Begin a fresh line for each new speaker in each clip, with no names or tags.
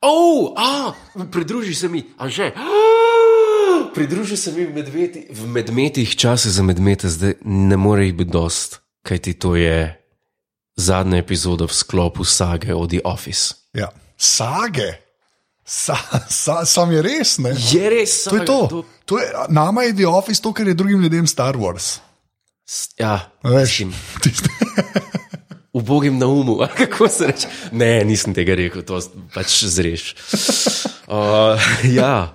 Oh, a, pridruži se mi, a že. Pridruži se mi v, medveti, v medmetih, čas je za medmete, zdaj ne more jih biti dost, kajti to je zadnja epizoda v sklopu sage o The Office.
Ja. Sage. Sa, sa, sam je res, ne?
Je res,
To je to. to je, nama je The Office to, kar je drugim ljudem Star Wars.
Ja,
Veš,
mislim,
tisti-
ubogim na umu, ali kako se reče. Ne, nisem tega rekel, to pač zreš. Uh, ja.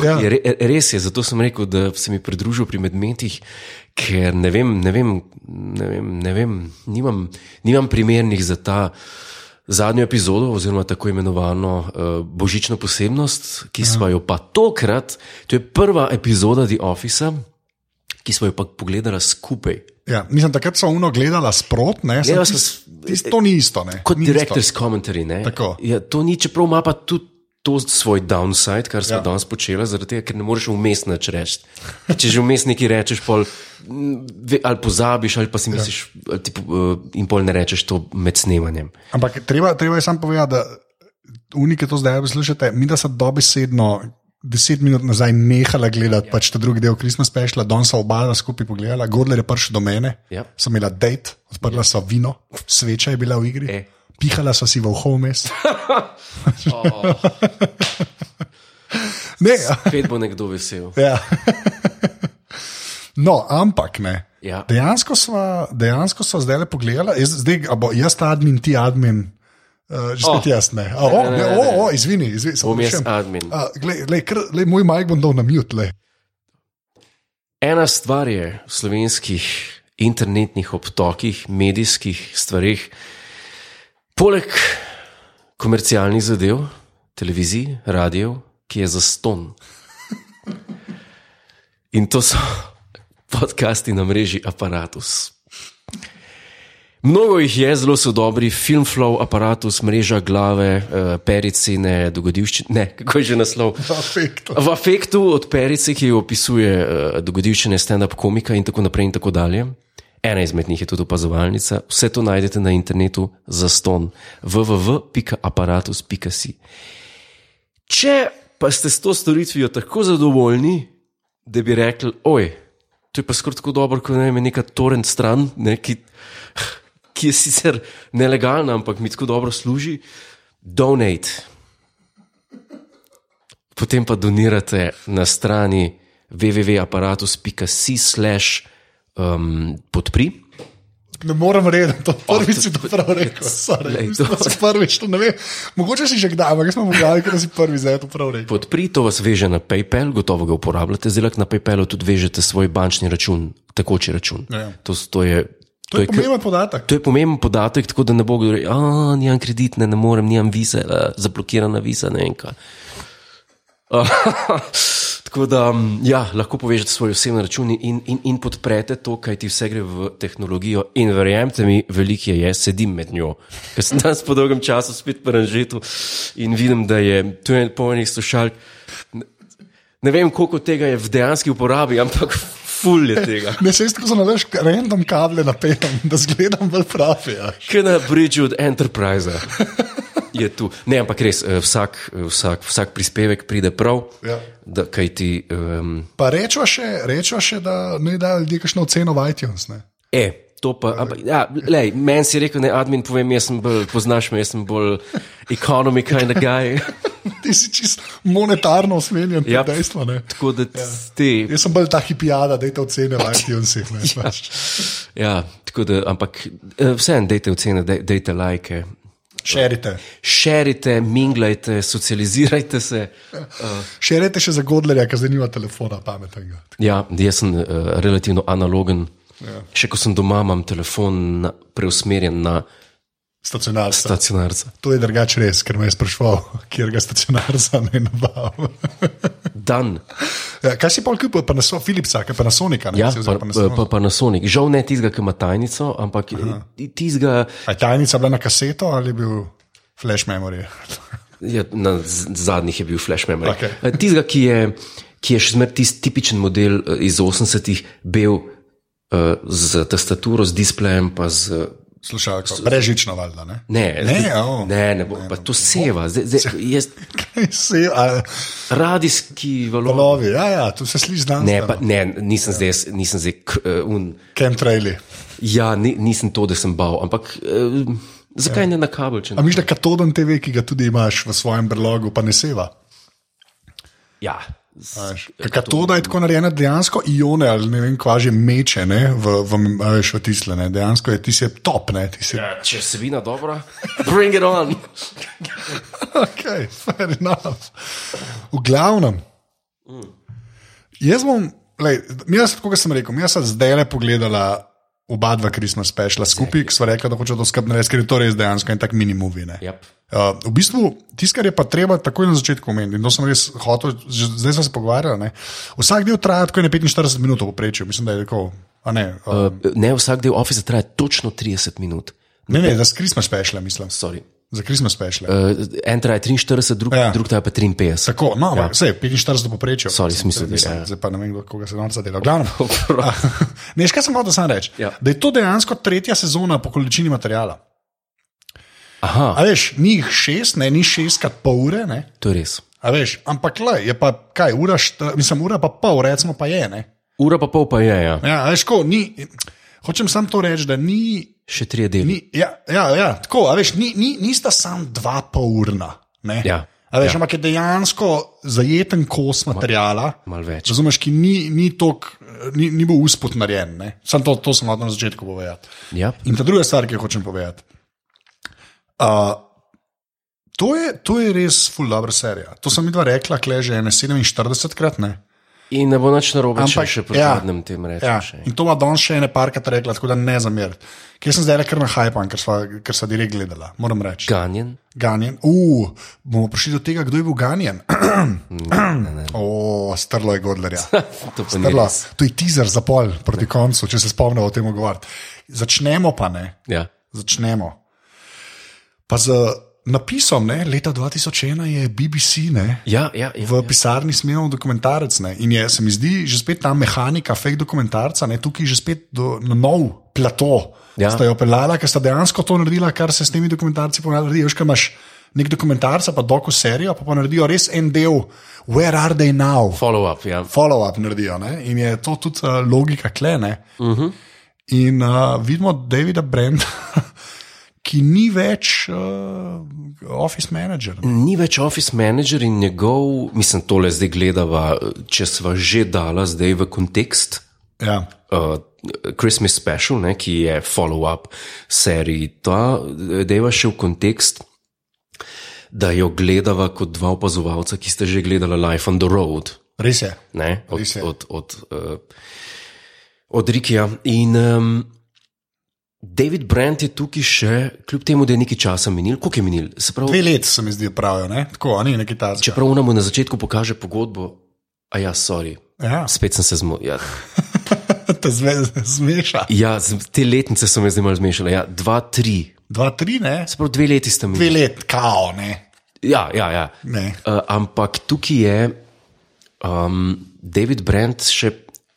Ja.
Je, re- res je, zato sem rekel, da se mi pridružil pri medmetih, ker ne vem, ne vem, ne vem, ne vem nimam, nimam primernih za ta zadnjo epizodo, oziroma tako imenovano uh, božično posebnost, ki smo jo pa tokrat, to je prva epizoda The Office, ki smo jo pa pogledali skupaj.
ja, mislim, takrat so uno gledala sprotne,
Gledala sva s-
to ni isto. Ne?
kot
ni isto.
director's commentary. ne.
Tako.
Ja, to ni, čeprav ima pa tudi to svoj downside, kar smo ja.
Ja.
danes počeli, zaradi tega, ker ne moreš vmes nič reči. Če že vmes nekaj rečeš, pol, m, ve- ali pozabiš, ali pa si misliš, ja. ti, po- eh, in pol ne rečeš to med snemanjem.
Ampak treba, treba je samo povedati, da unike to zdaj poslušate, mi da so dobesedno. Deset minut nazaj nehala gledati, ja. pač ta drugi del Christmas speciala, Don so oba skupaj pogledala, Godler je prišel do mene,
Ja.
sem imela date, odprla so vino, sveča je bila v igri,
E.
pihala so si v homes. ne, ja.
Pet bo nekdo vesel.
Ja. No, ampak ne.
Ja.
Dejansko sva, dejansko sva zdaj le pogledala, jaz, zdaj, a bo jaz ta admin, ti admin. Uh, že spet
Oh.
oh. jaz ne. A, o,
Ne, ne,
ne,
ne,
ne,
ne.
o, o, izvini, izvini. se
Bom jaz
opravičujem.
admin.
A, glej, glej, kar, glej, moj majk bom dal na mute. Glej.
Ena stvar je v slovenskih internetnih obtokih, medijskih stvarih, poleg komercialnih zadev, televizij, radijev, ki je za ston. In to so podcasti na mreži Apparatus. Mnogo jih je, zelo so dobri, film flow, aparatus, mreža glave, eh, pericine, dogodivščine, ne, kako je že naslov.
Perfektno.
V afektu od Perice, ki opisuje uh, dogodivščine stand-up komika in tako naprej in tako dalje. Ena izmed njih je tudi opazovalnica. Vse to najdete na internetu za ston www.apparatus.si. Če pa ste s to storitvijo tako zadovoljni, da bi rekli, oj, to je pa skoraj tako dobro, kot ne vem, je neka torrent stran, ne, ki, ki je sicer nelegalna, ampak mi tako dobro služi, donate potem pa donirate na strani www.apparatus.si/slash um, podpri.
Ne morem reči, to prvič
Oh, to-
si to prav rekel. Sorry,
Glej,
mislim,
to-
da si prvič to ne ve. Mogoče si že kdaj, ampak jaz sem pogledal, ker si prvi zdaj to prav rekel.
Podpri, to vas veže na PayPal, gotovo ga uporabljate, zelo lahko na PayPalu tudi vežete svoj bančni račun, tekoči račun.
Ja.
To, s- to je.
To je pomemben podatek.
To je pomemben podatek, tako da ne bo kdo rekel, da nimam kredit, ne, ne morem, nimam vize, eh, zablokirana viza, ne vem kaj. Tako da mm, ja, lahko povežete svoj osebni račun in, in, in podprete to, kaj ti vse gre v tehnologijo. In verjemite mi, veliko je, je, sedim med njo. Ker sem danes po dolgem času spet v Ranžetu in vidim, da je tu en polnih slušalk. Ne- Ne vem, koliko tega je v dejanski uporabi, ampak ful je tega.
Ne se jaz tako zanalaš, random kable napeljam, da zgledam bolj pravi. Ja.
Kaj na bridžu od Enterprise je tu. Ne, ampak res, eh, vsak, eh, vsak, vsak prispevek pride prav,
Ja.
da, kaj ti. Um,
Pa rečva še, rečva še, da ne da ljudje kakšno oceno v iTunes. Ne?
e, to pa, ampak, ja, lej, meni si rekel, ne, admin, povem, jaz sem bolj, poznaš me, jaz sem bolj economy kind of guy.
Ti si čist monetarno usmerjen, to je
Yep.
dejstvo. Ne?
Tako da ti.
Jaz sem bolj ta hipijada, da te ocene v iTunesih. ne, pač.
Ja, tako da, ampak eh, vseeno, dajte ocene, daj- dajte lajke.
Šerite.
Šerite, minglajte, socializirajte se.
Šerite še za Godlerja, ker zdaj nima telefona pametnega.
Ja, jaz sem uh, relativno analogen. Ja. Še ko sem doma, imam telefon na, preusmerjen na
Stacionarca.
stacionarca.
To je drugače res, ker me je sprašval, kjer ga stacionarca ne nabavim.
Dan,
Ja, kaj si pa kupil, pa na so, Philipsa, kaj pa na Sonika? Ne,
ja,
Si vzel
pa,
pa na
pa,
Sonika.
pa, pa na Sonik. Žal ne tizga, ki ima tajnico, ampak tizga
A je tajnica bila na kaseto ali je bil flash memory?
ja, na z- zadnjih je bil flash memory.
Okej.
Eh, Tizga, ki je, ki je še zmeraj tisti tipičen model e, eh, iz 80-ih, bel uh, z tastaturo, z displejem, pa z eh,
Slušalko. Brežično, valjda. Ne,
Ne,
ne, oh.
ne, ne bo, ne, to seva, zdaj, zdaj, jaz,
Se, a,
radijski valov.
polovi, ja, ja, tu se sliši znanstveno.
Ne, pa, ne, nisem zdaj, jaz- nisem zdaj k, uh, un,
Kem traili.
ja, ni, nisem to, da sem bal, ampak uh, zakaj ja. ne na kabel? če
A
Ne?
miš, da katoden TV, ki ga tudi imaš v svojem brlogu, pa ne seva.
Ja,
a veš. Ker Katoda je tako narejena, dejansko ione ali ne vem, kva že meče ne, v, v, a veš, v tisle. Ne. Dejansko je ti se top, ne, ti se. Yeah.
Ja, če se vina dobro, bring it on.
Okay, fair enough. V glavnem.
Mm.
Jaz bom, lej, jaz, tako kot sem rekel, jaz sem zdaj le pogledala oba dva Christmas speciala skupaj, ki so rekla, da hoče to skrbno res, ker je to res dejansko en tak minimovin.
Yep.
Uh, v bistvu, tisto, kar je pa treba takoj na začetku omeniti, in to sem res hotel, že zdaj smo se pogovarjali. Ne? Vsak del traja tako je 45 minut, poprečju, mislim, da je tako. a Ne, uh,
Uh, ne vsak del ofisa traja točno 30 minut.
ne,
eh.
ne, za Christmas special, mislim.
Sorry.
Za Christmas special.
Uh, en traja 43, drug,
Ja.
ja. drug traja pa 53.
Tako, no, ja. vse je 45 poprečju.
Sorry, sem mislil, da je, ja.
Zdaj pa ne vem, kdo- koga se danes zadeva. Glavno. ne, še kaj sem hotel sam reči.
Ja.
Da je to dejansko tretja sezona po količini materijala.
Aha,
A veš, ni jih šest, ne, ni šestkrat pol ure, ne.
to je res.
A veš, ampak le, je pa kaj, ura, št, mislim, ura pa pol, recimo pa je. Ne?
Ura pa pol pa je, ja.
Ja, a veš, ko, ni, hočem samo to reči, da ni.
Še tri deli.
ni ja, ja, ja, tako, a veš, ni, ni, nista sam dva pol urna. ne.
Ja,
A Veš, ja. Ampak je dejansko zajeten kos materijala.
Mal več.
Razumeš, ki ni, ni, tok, ni, ni bil usput narejen. ne. Samo to, to sem hotel na začetku povedati.
Ja.
In ta druga stvar, ki jo hočem povedati. Uh, to, je, to je res full dobro serija. To sem mi dva rekla, kleže 47krat. ne.
In ne bo nič narobe, če
Ampak-
še pri
ja.
zadnjem tem rečem.
Ja.
še.
In to ima danes še ene parkrat rekla, tako da ne zamerite. Ker sem zdaj le kar na hajpan, ker sva, ker sva direkt gledala, moram reči.
Ganjen.
Ganjen. Uh, bomo prišli do tega, kdo je bil ganjen. o, strlo je Godlerja.
To pa ni
Strlo.
res.
To je teaser za pol proti koncu, če se spomnimo o tem govoriti. Začnemo pa ne.
Ja.
Začnemo. Pa z napisom, ne, leta 2001 je BBC ne,
Ja, ja, ja,
v pisarni snimil dokumentarec. Ne, in je, se mi zdi, že spet ta mehanika, fake dokumentarca, ne, tukaj že spet do, na nov plato.
Ja.
Ja. Sta jo pelala, ker sta dejansko to naredila, kar se s temi dokumentarci ponavadi naredi. Veš, kaj imaš nek dokumentarca, pa doko serijo, pa, pa naredijo res en del, where are they now?
follow up. Ja.
follow-up naredijo. Ne? In je to tudi uh, logika klene. Uh -huh. In uh, vidimo Davida Brenda, ki ni več uh, office manager.
Ni več office manager in njegov, mislim, tole zdaj gledava, eh, če sva že dala zdaj v kontekst.
Ja.
uh, Christmas special, ne, ki je follow-up seriji, ta deva še v kontekst, da jo gledava kot dva opazovalca, ki ste že gledala Life on the Road.
Res je.
Ne, od,
Res je.
od, od, uh, od Rikija. In um, David Brandt je tukaj še, kljub temu, da je nekaj časa minil, koliko je minil. Se pravi,
Dve leti se mi zdi, pravijo, ne? tako, a ni nekaj tazga.
čeprav nam na začetku pokaže pogodbo, a ja, sorry,
Ja,
spet sem se zmotil. Ja.
te zve, zmeša.
Ja, z- te letnice so me zdaj malo zmešale. Ja, 2-3,
Dva, tri, ne?
se pravi, dve leti sta mi.
Dve leti, kao, ne.
Ja, ja, ja.
ne.
Uh, ampak tukaj je um, David Brent še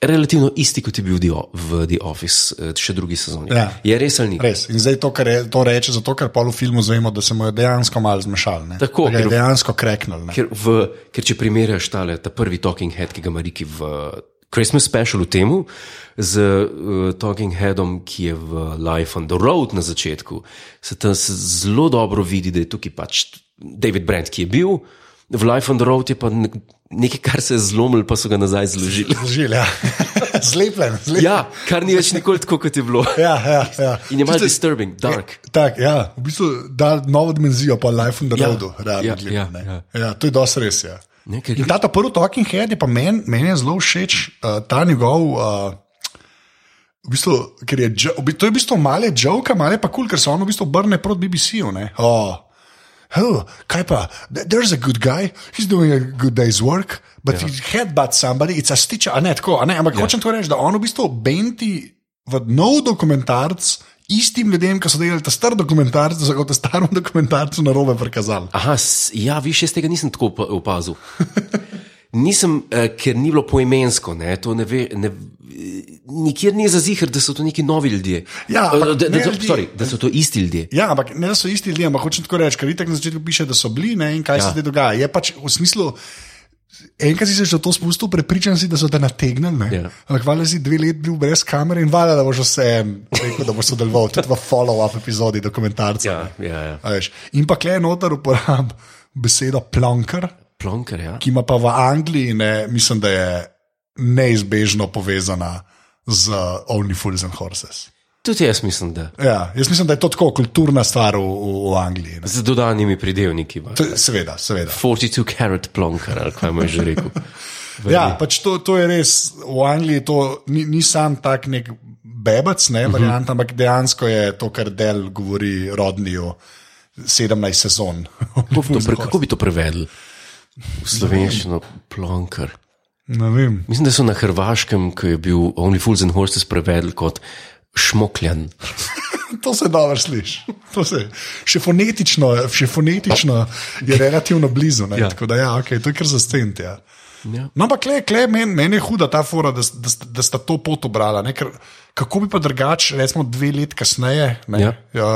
relativno isti, kot je bil The O- v The Office, eh, še drugi sezoni.
Ja.
Je res ali ni?
Res. In zdaj to, kar je, to reče, zato ker pol v filmu zvemo, da se mu je dejansko malo zmešal. ne.
Tako,
Da ga je
ker-
dejansko kreknil. ne.
Ker, v, ker če primerjaš tale, ta prvi Talking Head, ki ga ima Riki v Christmas specialu, temu, z uh, Talking Headom, ki je v Life on the Road na začetku, se tam se zelo dobro vidi, da je tukaj pač David Brent, ki je bil, v Life on the Road je pa nek- nekaj, kar se je zlomil, pa so ga nazaj zložili.
Zložil, ja. Zlepljen, zlepljen.
Ja, kar ni več nikoli tako, kot je bilo.
Ja, ja, ja.
In je malo
Tisto-
disturbing, dark.
Tak, ja, v bistvu da novo dimenzijo, pa Life on the
Ja,
Roadu, realno
ja,
gledano,
ja,
ne. Ja, to je dosti res. Ja.
Ne, ker-
In ta, ta prvi Talking Head je pa meni men je zelo všeč, uh, ta njegov. Uh, V bistvu, ker je, dž- v bi- to je v bistvu male žoka, male pa kul, cool, ker se on v bistvu obrne proti BBC-ju. ne. Oh. Oh, kaj pa, Th- there's a good guy, he's doing a good day's work, but yeah. he headbutts somebody, it's a stitch, a ne tako. A ne? Ampak yeah. hočem to reči, da on v bistvu benti v nov dokumentarc istim ljudem, ki so delali ta star dokumentarc, da so ga v ta starem dokumentarcu narobe prikazali.
Aha, s- ja, viš, jaz tega nisem tako opa- opazil. Nisem, eh, ker ni bilo poimensko, ne, to ne ve, ne, nikjer ni zazihar, da so to neki novi ljudje. Eh,
Ja, ampak
da, da,
ne
so,
ljudi.
sorry, da so to isti ljudje.
Ja, ampak ne da so isti ljudje, ampak hočem tako reči, ker itak na začetku piše, da so bili ne, in kaj ja. se zdaj dogaja. Je pač v smislu. Enkrat si se že v to spustil, prepričan si, da so te nategnili. ne.
Ja.
Ampak valjda si dve leti bil brez kamere in valjda, da boš vse rekel, da boš sodeloval tudi v follow-up epizodi dokumentarca.
Ja, ja, ja.
A veš. In pa klej noter uporab besedo planker,
Plonker, ja.
ki ima pa v Angliji, ne, mislim, da je neizbežno povezana z uh, Only Fools and Horses.
Tudi jaz mislim, da.
Ja, jaz mislim, da je to tako kulturna stvar v, v, v Angliji. Ne.
Z dodanimi pridevniki. ima.
To je- Seveda, seveda.
42 karat plonker, ali kaj imaš že rekel.
Ja, pač to, to je res, v Angliji to ni, ni sam tak nek bebec, ne, variant, ampak dejansko je to, kar del govori rodnijo 17 sezon.
Kako bi to pre- Kako bi to prevedli? V slovenščino plonker.
Ne vem.
Mislim, da so na Hrvaškem, ko je bil Only Fools and Horses prevedel kot šmokljan.
To se dobro sliši. To se- Še fonetično, še fonetično je relativno blizu. Ne,
Ja.
ja. Tako da, ja, okay, to je kar za stent. Ja.
Ja.
No, ampak le, le meni men je huda ta fora, da, s- da, s- da sta to pot obrala. Ne? Ker, kako bi pa drugače, recimo dve leti kasneje, ne,
Ja.
ja,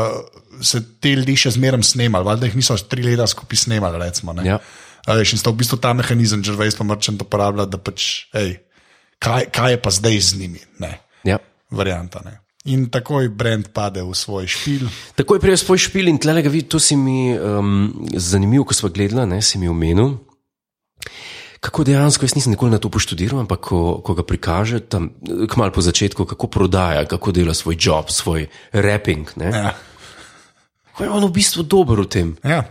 se te ljudi še zmeraj snemali, valjda jih niso tri leta skupaj snemali. Recimo, ne.
Ja.
A veš, in sta v bistvu ta mehanizem, že veš, pa mrčen uporablja, da pač, hej, kaj, kaj je pa zdaj z njimi, ne,
Ja.
varianta. Ne. In takoj brend pade v svoj špil.
Tako je prej svoj špil in tlega vidi, to si mi um, zanimivo, ko smo gledali, ne si mi omenil. Kako dejansko, jaz nisem nikoli na to poštudiral, ampak ko, ko ga prikaže tam, kmalo po začetku, kako prodaja, kako dela svoj job, svoj rapping. Ne?
Ja.
Ko je on v bistvu dober v tem,
Ja.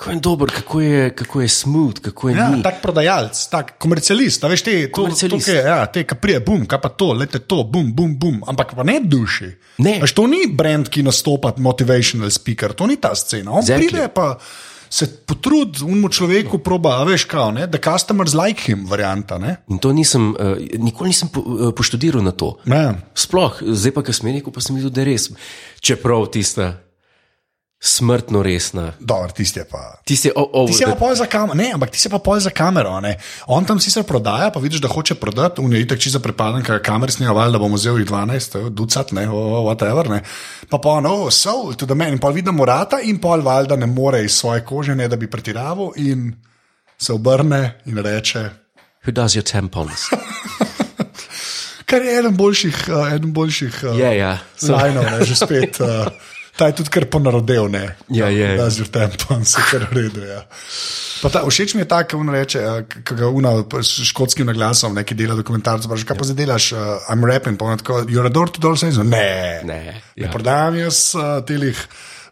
ko je dober, kako je, kako je smooth, kako je
Ja,
ni.
tak prodajalec, tak komercialist, a veš te, to, to,
Komercialist.
ki, ja, te, ki prije, bum, kaj pa to, lete to, bum, bum, bum, ampak pa ne duši.
Ne.
Veš, to ni brand, ki nastopa, motivational speaker, to ni ta scena. On
Exactly.
exactly. pride pa se potrudi, unmo človeku proba, a veš kao, ne, da customers like him, varianta. Ne?
In to nisem, uh, nikoli nisem po, uh, poštudiral na to.
Ja.
Sploh, zdaj pa, ki sem rekel, pa sem videl, da je res. Čeprav tista smrtno resna,
Dobro, tisti je pa.
tiste ovo.
Ti si pa pol za kamero, ne, ampak ti si pa pol za kamero. Ne. On tam sicer prodaja, pa vidiš, da hoče prodati, v njej tako čisto prepadan, ker kamer snega val, da bomo vzeli 12, ducat, ne, o, o, whatever. Ne. Pa pa no, so, to da meni, pa vidimo rata in pol val, da ne more iz svoje kože, ne da bi pretiraval in se obrne in reče.
Who does your tampons?
Kar je eden boljših, uh, eden boljših uh,
Ja, ja. So-
slajnov, ne, že spet. Uh, Ta je tudi kar ponarodel, ne.
Ja, je.
Da, z tempom se kar uredi. Ja. Pa Ta, všeč mi je ta, ki mu reče, ki ga una s škotskim naglasom, neki dela dokumentarce, pravi, kaj pa
Ja.
zdaj delaš, uh, I'm rapping, pa on tako, you're a door to door, senzo. Ne,
Ne,
ne
ja.
prodajam jaz uh, telih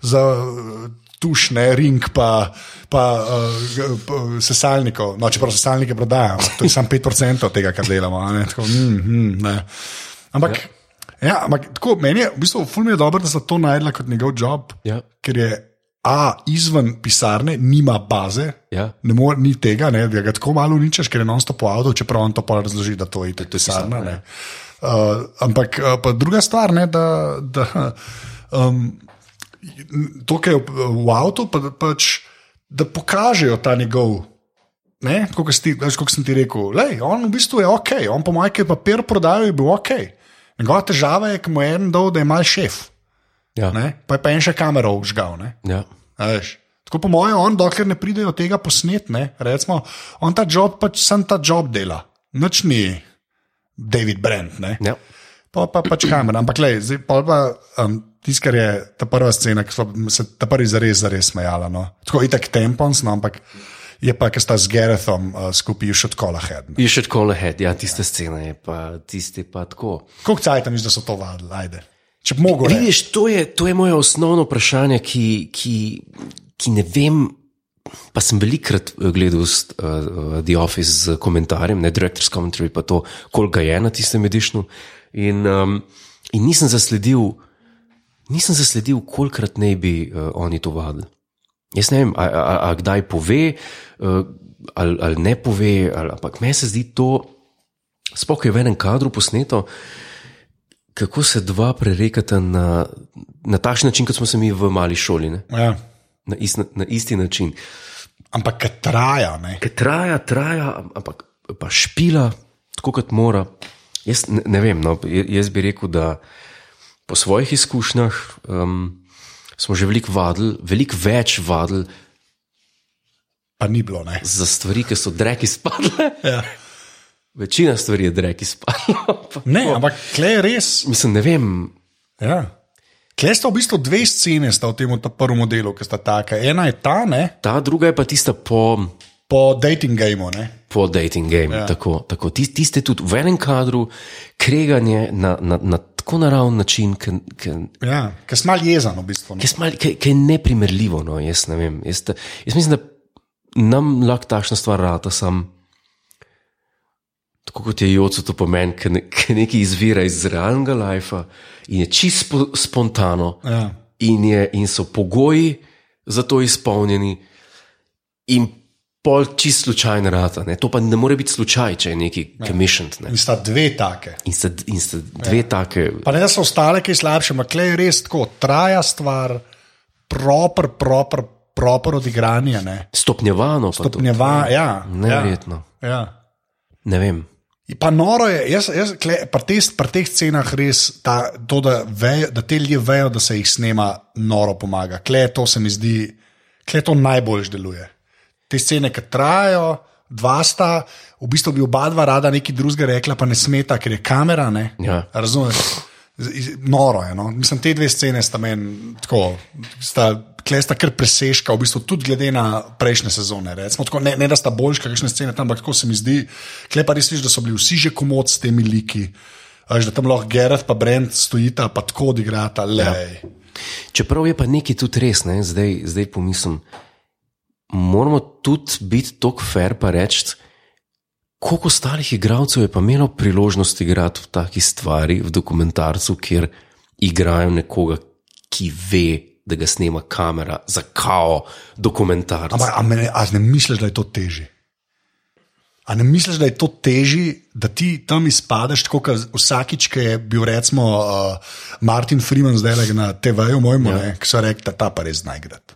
za uh, tuš, ne, ring, pa, pa uh, g- p- sesalnikov. No, čeprav sesalnike prodajam, ampak to je samo 5% tega, kar delamo. a Ne, tako, mm, mm, ne. Ampak. Ja. Ja, ampak tako meni je, v bistvu, ful mi je dobro, da sta to najdla kot njegov job,
Ja.
ker je A, izven pisarne, nima baze,
Ja.
ne more, ni tega, ne, da ga tako malo uničiš, ker je non-stop po avtu, čeprav on to pa razloži, da to je itak pisarna. ne. Uh, ampak uh, pa druga stvar, ne, da, da um, to, kar je v, v avtu, pa, da pač, da pokažejo ta njegov. Ne, tako kot si ti- veš, kot sem ti rekel, lej, on v bistvu je ok, on po majke papir prodajal je bil ok. Njegova težava je, ki mu je en dol, da je mal šef,
Ja.
ne? pa je pa en še kamero užgal. Ne?
Ja.
A veš. Tako po mojem, on, dokler ne pridejo tega posnetne, recimo, on ta job pač sem ta job dela, noč ni David Brent. Ne?
Ja.
Pa pa pač kamer, ampak le, zdaj pol pa um, tisto, kar je ta prva scena, ki smo se ta prvi zares, zares smejala. No. Tako itak tempons, no, ampak je pa, ki sta z Gerethom uh, skupaj še tako lahed.
You should call ahead, ja, tista scena je pa, tiste pa tako.
Koliko cajt tam je, da so to vadili, ajde. Če bi mogel. reči.
Vidiš, to je, to je moje osnovno vprašanje, ki, ki, ki ne vem. Pa sem velikrat eh, gledal s, uh, uh, The Office z komentarjem, ne Director's Commentary, pa to, koliko ga je na tistem edišnu. In, um, in nisem zasledil, nisem zasledil, kolikrat naj bi uh, oni to vadili. Jaz ne vem, a, a, a kdaj pove, uh, ali, ali ne pove, ali, ampak meni se zdi to, spokoj je v enem kadru posneto, kako se dva prerekata na, na takšen način, kot smo se mi v mali šoli, ne?
Ja.
na, ist, na, na isti način.
Ampak kaj traja, ne?
Ker traja, traja, ampak pa špila, tako kot mora. Jaz ne, ne vem, no, j- jaz bi rekel, da po svojih izkušnjah um, smo že veliko vadili, veliko več vadili
Pa ni bilo, ne.
za stvari, ki so dreki spadle.
Ja.
Večina stvari je dreki spadla. pa-
Ne, ampak klej je res.
Mislim, ne vem,
Ja. Klej sta v bistvu dve scene sta v tem ta prvem delu, ki sta taka. Ena je ta, ne,
ta druga je pa tista po,
po dating gameu, ne.
po dating game. Ja. Tako, tako. Tis- Tiste tudi v enem kadru, kreganje na, na, na tako naraven način, ki
Ja, ker sem mal jezen v bistvu. Ne.
Jaz mal, kaj, kaj je neprimerljivo, no, jaz ne vem. Jaz, ta- jaz mislim, da nam lahko takšna stvar rata sam. Tako kot je Jocu to pomen, ki ne, ki nekaj izvira iz realnega lajfa in je čisto spontano,
Ja.
in, je, in so pogoji za to izpolnjeni, in pol čisto slučajno rata. Ne. To pa ne more biti slučaj, če je neki commissioned. Ne.
In sta dve take.
In sta, in sta dve take
Pa ne, da so ostale kaj slabše, ampak klej je res tako, traja stvar, proper, proper, proper odigranje. Ne.
stopnjevano, pa to-
Njeva, ja, ja,
Neverjetno.
ja.
Ne vem.
In Pa noro je, jaz, jaz kle, pri, te, pri teh cenah res ta, to, da, vejo, da te ljudje vejo, da se jih snema, noro pomaga. Kle to se mi zdi, kle to najbolj deluje. Te scene, ki trajajo, dva sta, v bistvu bi oba dva rada nekaj drugega rekla, pa ne smeta, ker je kamera. Ne?
Ja.
Razumeš? Z- iz- Noro je. No? Mislim, te dve scene sta meni tako, sta, kle sta kar preseška, v bistvu tudi glede na prejšnje sezone. Recimo, tako, ne, ne, da sta boljša, kakšne scene tam, ampak tako se mi zdi. Kle pa res vidiš, da so bili vsi že komod s temi liki. A veš, Da tam lahko Gerard pa Brent stojita, pa tako odigrata, le.
Čeprav je pa nekaj tudi res, ne? zdaj, zdaj pomislim, moramo tudi biti tako fair pa reči, koliko ostalih igralcev je pa imelo priložnost igrati v taki stvari, v dokumentarcu, kjer igrajo nekoga, ki ve, da ga snema kamera za kao dokumentarce.
Ampak a, me- a ne misliš, da je to težje? A ne misliš, da je to težje, da ti tam izpadeš, tako kot vsakič, ki je bil recimo uh, Martin Freeman zdaj na TV-ju, mojemu, ja. ki so rekli, da ta pa res najgrad.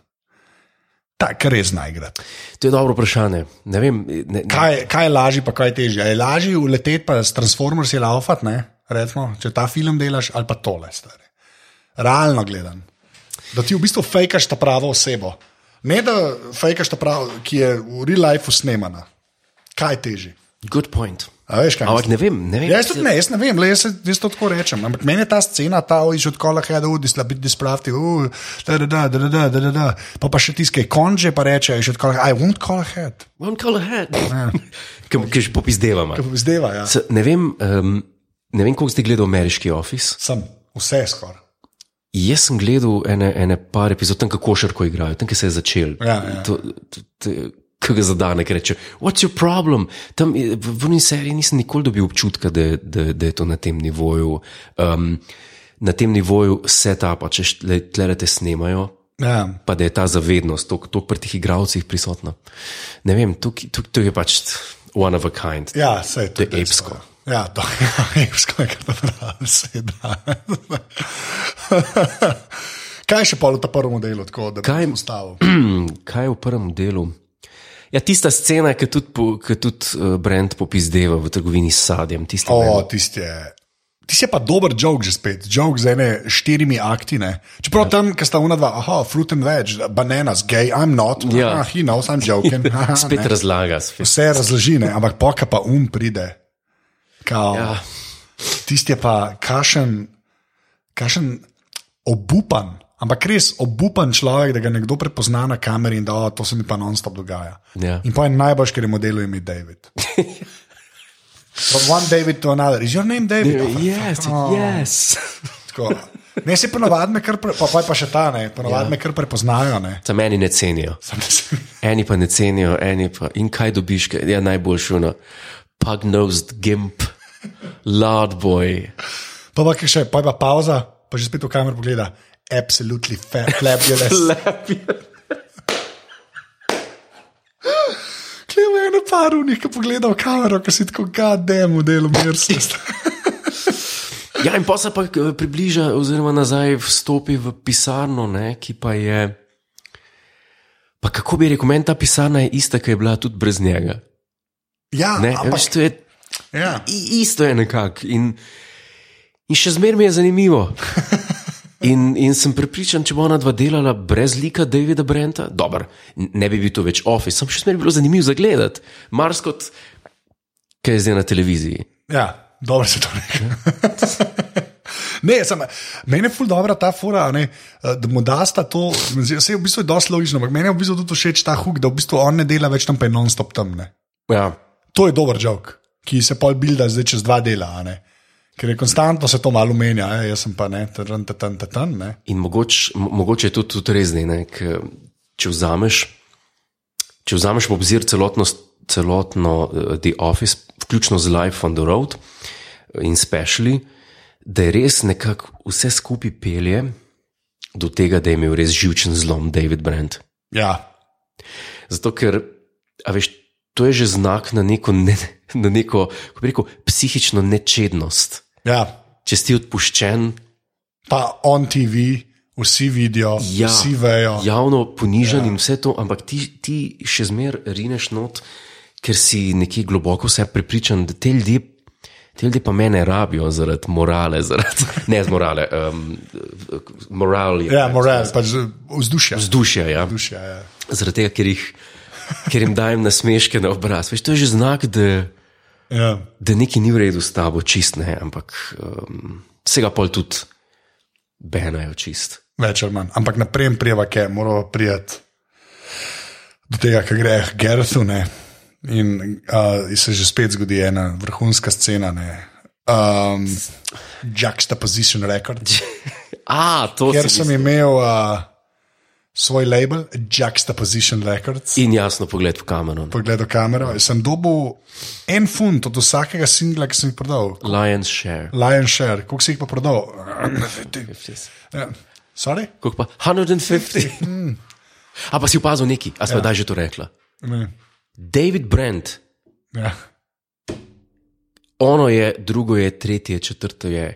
Ta, kar res najgrad.
To je dobro vprašanje. Ne vem, ne, ne,
Kaj, kaj je lažje, pa kaj je težje? A Je lažje uleteti pa s Transformersi laufat, ne? Recimo, če ta film delaš ali pa tole, stari. Realno gledam. Da ti v bistvu fejkaš ta pravo osebo. Ne da fejkaš ta pravo, ki je v real lifeu snemana. Kaj je težje?
good point.
A veš, kaj
Ampak ne
mislim?
vem, ne vem.
Ja, jaz tudi ne, jaz ne vem, le, jaz, se- jaz to tako rečem. Ampak meni je ta scena, ta ojiš od kola, hej, da udi, slabi dispravti, oh, da, da, da, da, da, da, da. Pa pa še tiskaj konže, pa reče, že od kola, I won't call ahead.
One call ahead.
Ja.
Ki že popizdeva. man.
Zdeva, ja.
S- Ne vem, um, ne vem koliko ste gledali ameriški office.
Sem, vse skoraj.
Jaz sem gledal ene, ene par epizod, tam kako šarko igrajo, tam, ki se je začel.
Ja, ja.
To- to- to- Ki ga zadane, ki reče: What's your problem? Tam eh, v vrni seriji nisem nikoli dobil občutka, da, je- da, da je to na tem nivoju, um, na tem nivoju setupa, če tlere te snemajo,
Ja.
pa da je ta zavednost tako pri teh igravcih prisotna. Ne vem, tukaj, tukaj, tukaj je pač one of a kind.
Ja, se je to.
To je epsko.
Ja, to je epsko, je kar pravi, se je da. Kaj je še pol v tem prvem delu, tako da
Kaj-
bi ustavil?
Kaj je v prvem delu? Ja, tista scena, ki tudi, po- ki tudi uh, Brent popizdeva v trgovini s sadjem. Tista,
O,
oh.
tisti je. Ti si pa dober jok že spet, jok z ene štirimi akti. Ne?
Ja.
Čeprav tam, ki sta unadva, aha, fruit and veg, bananas, gay, I'm not,
Ja.
ja. ah, he knows, I'm joking. Aha,
Spet
ne.
razlaga, spet.
Vse razloži, ne? ampak poka pa um pride. Kao, ja.
Ja,
tisti je pa kašen, kašen obupan, ampak res obupan človek, da ga nekdo prepozna na kameri in da "O, to se mi pa non-stop dogaja.
Ja.
In pa je najbolj, ker je modelu ime David. From one David to another. Is your name David? Oh,
yes, yes.
Tako. Ne, se ponovadi me kar, pre, pa, pa, je pa še ta ne, ponovadi ja. me kar prepoznajo. Ne.
Tam eni ne cenijo,
Samo da se-
eni pa ne cenijo, eni pa. In kaj dobiš, kaj je ja, najboljši, no, pugnosed gimp, lard boy.
Pa pa kaj še, pa je pa pauza, pa že spet v kamero pogleda. Absolutely fa- fabulous. Klema je na paru, nekaj pogleda v kamero, ki si tako gadem v delu mirstva.
Ja, in pa se pa eh, približa, oziroma nazaj vstopi v pisarno, ne, ki pa je. Pa kako bi rekel, meni ta pisarna je ista, ki je bila tudi brez njega.
Ja,
Ne,
ampak,
veš, to je,
Ja.
I, isto je nekako. In, in še zmeraj mi je zanimivo. In, in sem prepričan, če bo ona dva delala brez lika Davida Brenta, dobro, ne bi bil to več office, sem še zmeraj bilo zanimivo za gledati. Mars kot, kaj je zdaj na televiziji.
Ja, dobro se to reče. Ne, sem, meni je ful dobro ta fura, ne, eh, da mu dasta to, vse je v bistvu dosti logično, ampak meni je v bistvu tudi všeč ta huk, da v bistvu on ne dela več tam, pa je non-stop tam. Ne.
Ja,
To je dober žog, ki se pol bilda zdaj čez dva dela, a ne. ker je konstantno se to malo menja, e, jaz sem pa ne, tam, tam, tam, ne.
in mogoč, mo- mogoče je to tudi res, ne, ne, k, če vzameš. Če vzameš v obzir celotno, s- celotno eh, The Office, vključno z Life on the Road eh, in Specially, da je res nekako vse skupaj pelje do tega, da je imel res živčen zlom David Brent.
Ja,
Zato, ker, a veš, to je že znak na neko, ne, na neko kako bi rekel, psihično nečednost.
ja.
Če si odpuščen,
pa on TV, vsi vidijo,
ja,
vsi vejo.
javno ponižen ja. in vse to, ampak ti, ti še zmeraj rineš not, ker si nekje globoko vse prepričan, da te ljudje. Te ljudje pa me ne rabijo zaradi morale, zaradi, ne z morale, um, moral je.
Ja, moral, pač z- vzdušja.
Vzdušja, ja.
Vzdušja, ja.
Zaradi tega, ker, jih, ker jim dajem nasmeške na obraz. Veš, to je že znak, da,
Ja.
da nekaj ni v redu s tabo, čist ne, ampak um, vsega pol tudi benajo čist.
Več ali manj. Ampak naprej prijeva, ki je moralo prijeti do tega, ki gre k Gerthu. Ne? In uh, se že spet zgodi ena vrhunska scena. ne. Um, juxtaposition record.
A, to
Ker
si
sem imel uh, svoj label, Juxtaposition Records.
In jasno pogled v kamero. no.
Pogledal kamero, sem dobil en funt od vsakega singla, ki sem jih prodal.
Lions share.
Lion Share, koliko si jih pa prodal? Ja. Sorry?
Koliko pa? 150.
Mm.
A pa si opazil neki, a smo ja. da že to rekla.
Ne.
David Brent,
Ja.
ono je, drugo je, tretje, četrto je,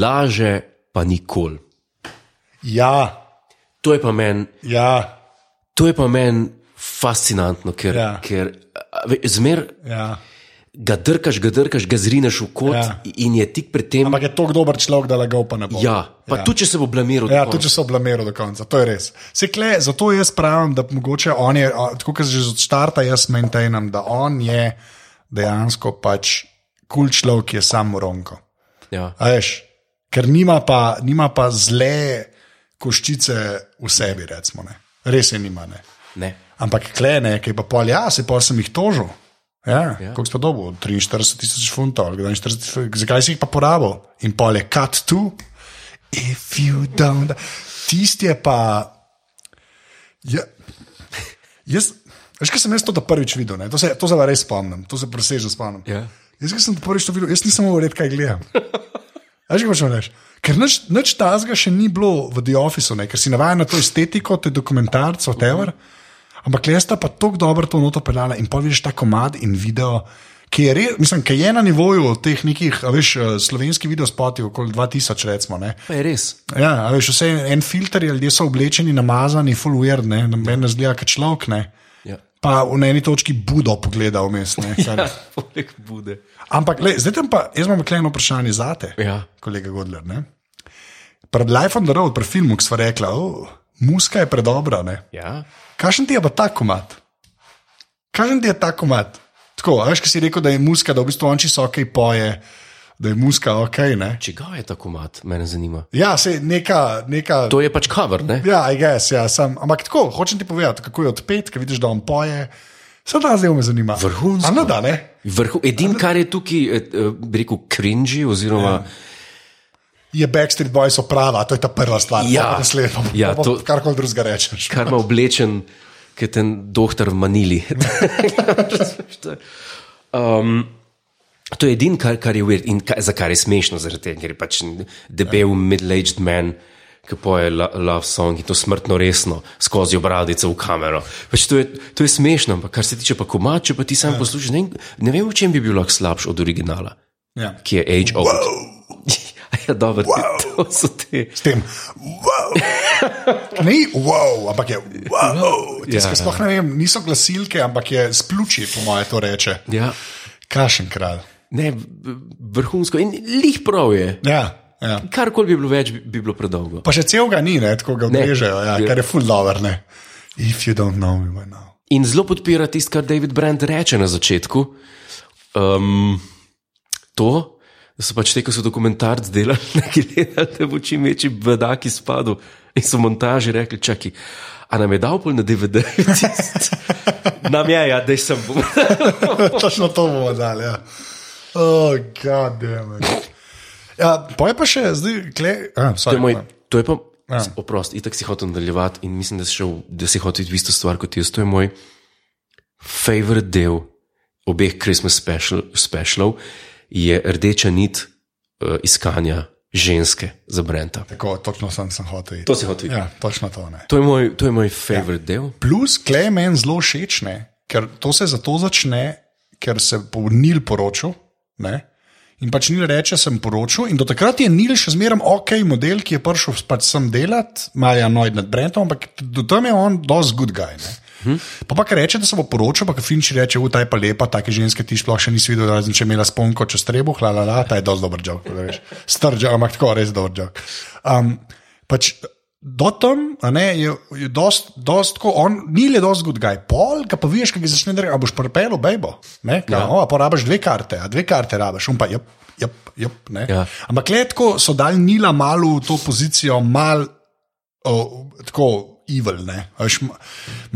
laže pa nikoli.
Ja,
To je pa meni
ja,
to je pa meni fascinantno, ker, ja.
Ja.
ker a, ve- zmer
ja.
ga drkaš, ga drkaš, ga zrineš v kot ja.
Ja.
in je tik pred tem.
Ampak je tako dober človek, da ga upa ne bo.
Ja, pa ja. tudi če se bo blamiral,
Ja,
do konca.
tudi če so oblamero do konca, to je res. Se kle, zato jaz pravim, da mogoče on je, a, tako kot že od starta, jaz maintainam, da on je dejansko pač kul cool človek, ki je samo ronko.
ja.
A veš, ker nima pa, nima pa zle koščice v sebi, recimo. Ne. Res je nima. Ne.
ne.
Ampak klene, ki je pa pol, ja, se pa sem jih tožil. Ja, ja. Koliko si pa dobil? 43 tisoč funtov, ali 42 tisoč, zakaj si jih pa porabil? In pol je cut to, if you don't. Tisti je pa. Ja, jaz, veš, kaj sem jaz to ta prvič videl, ne? to se, to se pa res spomnim, to se presežno spomnim.
Ja.
Jaz, ki sem to prvič to videl, jaz nisem mogel reči, kaj gledam. Veš, kaj hočem reči? Ker nič, nič tazga še ni bilo v The Officeu, ne? ker si navaden na to estetiko, te dokumentarce, whatever. Ampak lesta pa tako dobro to noto pelala in poviš ta komad in video. Ki je, re, mislim, ki je na nivoju teh nekih, a veš, eh, slovenskih videospotov, okoli 2000, recimo. Ne?
Pa je res.
Ja, a veš, vse en, en filter je, ljudje so oblečeni, namazani, full weird, ne, noben ne zgleda kot človek. Ne?
Ja.
Pa v na eni točki Budo pogledal vmes. ne, kar-
Poleg bude.
Ampak le, zdaj tam pa, jaz imam tukaj eno vprašanje za te
Ja.
kolega Godler. Ne? Pred Life on the Road, pred filmom, ki smo rekli, oh, muska je predobra. Ne?
ja.
Kakšen ti je pa ta komat? Kakšen ti je ta komat? Tako, a veš, ki si rekel, da je muska, da v bistvu on čisto ok poje, da je muska ok. Ne?
Čigav je tako mat, mene zanima.
Ja, se neka, neka.
To je pač cover, ne?
Ja, I guess, ja, sam. Ampak tako, hočem ti povedati, kako je odpet, ki vidiš, da on poje. Sedaj zdaj me zanima.
Vrhunsko.
A ne da, ne?
Vrhu, edin, kar je tukaj, eh, eh, bi rekel, cringy, oziroma
je Backstreet Boys oprava, to je ta prva stvar,
Ja.
ja, naslednja.
Ja,
Ja,
to-
to... Karkoli drugega rečeš.
kar ima oblečen, kot ten doktor v Manili. Razumeš, to je- um, to je edin, kar, kar je weird in ka, za kar je smešno, zaradi tega, ker je pač debel, middle-aged man. Ki poje lo- love song in to smrtno resno, skozi obradice v kamero. Pač to, je, to je smešno, ampak kar se tiče pa komat, če pa ti sam poslušaš, ne, vem- ne vem, v čem bi bil lahko slabši od originala,
Ja.
ki je age old. ja, dobro, wow. to so te.
S tem, wow. ni wow, ampak je wow.
Ja.
Tis, ja. Sploh ne vem, niso glasilke, ampak je spluči, po mojem, to reče.
Ja,
Kašen kralj.
Ne, v- vrhunsko in lih prav je.
Ja, ja.
Karkoli bi bilo več, bi, bi bilo predolgo.
Pa še celega ni, ne, tako ga
Ne.
odrežejo, ja, kar je full dollar. Ne. If you don't know me by now.
In zelo podpira tisto, kar David Brand reče na začetku. Um, to, da so pač te, ki so dokumentarci delali, neki gledali, da bo čim večji bedak izpadel. In so montaži rekli, čakaj, a nam je dal pol na DVD? tisto?" nam je, ja, da sem bom.
Točno to bomo dali. Ja. Oh, god damn. it. Ja, pa je pa še zdaj, kle, a,
To
sorry,
je, moj, to je pa,
Ja.
ja. oprost, itak si hotel nadaljevati in mislim, da si, šel, da si hotel iti v isto stvar kot jaz. To je moj favorit del obeh Christmas special, specialov, je rdeča nit uh, iskanja ženske za Brenta.
tako, točno sem, sem hotel. iti.
To si hotel. Ja.
Ja, točno to ne.
To je moj, to je moj favorit ja. del.
Plus, klej meni zelo všeč, ne? ker to se zato začne, ker se bo Nil poročil. Ne? In pač Nil reče, sem poročil, in do takrat je Nil še zmeraj ok, model, ki je prišel pač sem delati, Marja Noid nad Brentom, ampak do tam je on dosti good guy. Ne? Pa pa ki reče, da se bo poročil, pa ki Finči reče, v ta je pa lepa, take ženske ti sploh še nisi videl, razen če je imela sponko čez trebuh, la la la, ta je dosti dober žog, strž, ampak tako res dober žog. Um, pač do tam, a ne, je, je dost, dost ko, on ni le dost good guy, pol, ga pa vidiš, ki ga začne reči, a boš prepelo, bejbo, ne, ka, ja.
Ja.
o, a porabiš dve karte, a dve karte rabiš, on pa, jep, jep, jep, ne.
Ja.
Ampak letko so dal Nila malo v to pozicijo, malo o, tako evil, ne. A veš, ma-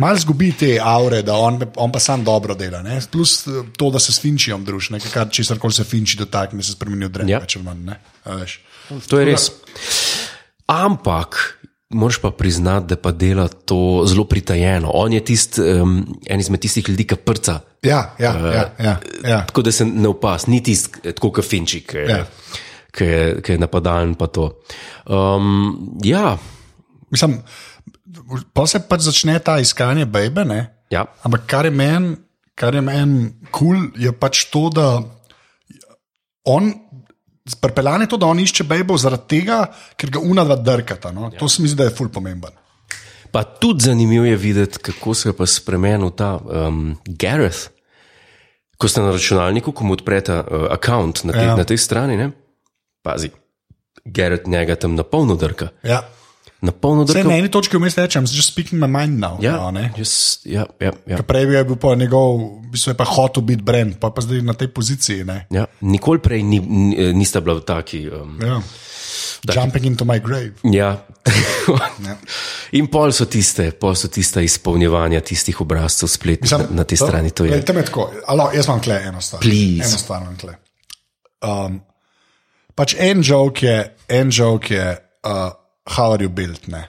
Malo zgubi te aure, da on, on pa sam dobro dela. Ne? Plus eh, to, da se s Finčijem druži, ne, kar če se kar se Finči dotakne, se spremeni v drevo.
Ja.
Ja.
To je res. Ampak. Moraš pa priznati, da pa dela to zelo pritajeno. On je tisti, um, en izmed tistih ljudi, ki prca
Ja, ja, ja, ja, ja.
Tako da se ne opas, ni tisti, eh, tako kot Finčik, ki
Ja.
je, ki je, ki je napadalen. pa to. Um, ja,
Mislim, pa se pač začne ta iskanje bebe, ne?
ja,
Ampak kar je meni, kar je meni kul, cool, je pač to, da on. Prepeljan je to, da on išče bejbo zaradi tega, ker ga unada drkata. No? Ja. To se mi zdi, da je ful pomemben.
pa tudi zanimivo je videti, kako se je pa spremenil ta um, Gareth. Ko ste na računalniku, ko mu odprete uh, račun na, te,
Ja.
ja. na tej strani, ne? pazi, Gareth njega tam na polno drka.
Ja.
Na polno
Zdaj,
drka.
na eni točki vmes rečem, zdaj speaking my mind now.
Ja,
no, ne?
just, ja, ja, ja,
Ker Prej je bil pa njegov, v bistvu je pa hotel biti brend, pa, pa zdaj na tej poziciji. Ne?
ja. Nikoli prej ni, ni, eh, nista bila v taki. Um,
Ja. Jumping into my grave.
Ja. In pol so tiste, pol so tiste izpolnjevanja tistih obrazcev spletnih na, na tej
to-
strani. To
Glej,
je.
Tam je tako, alo, jaz imam kle eno stvar.
Please.
Eno stvar imam kle. Um, pač en žog je, en žog je, uh, how are you built, ne.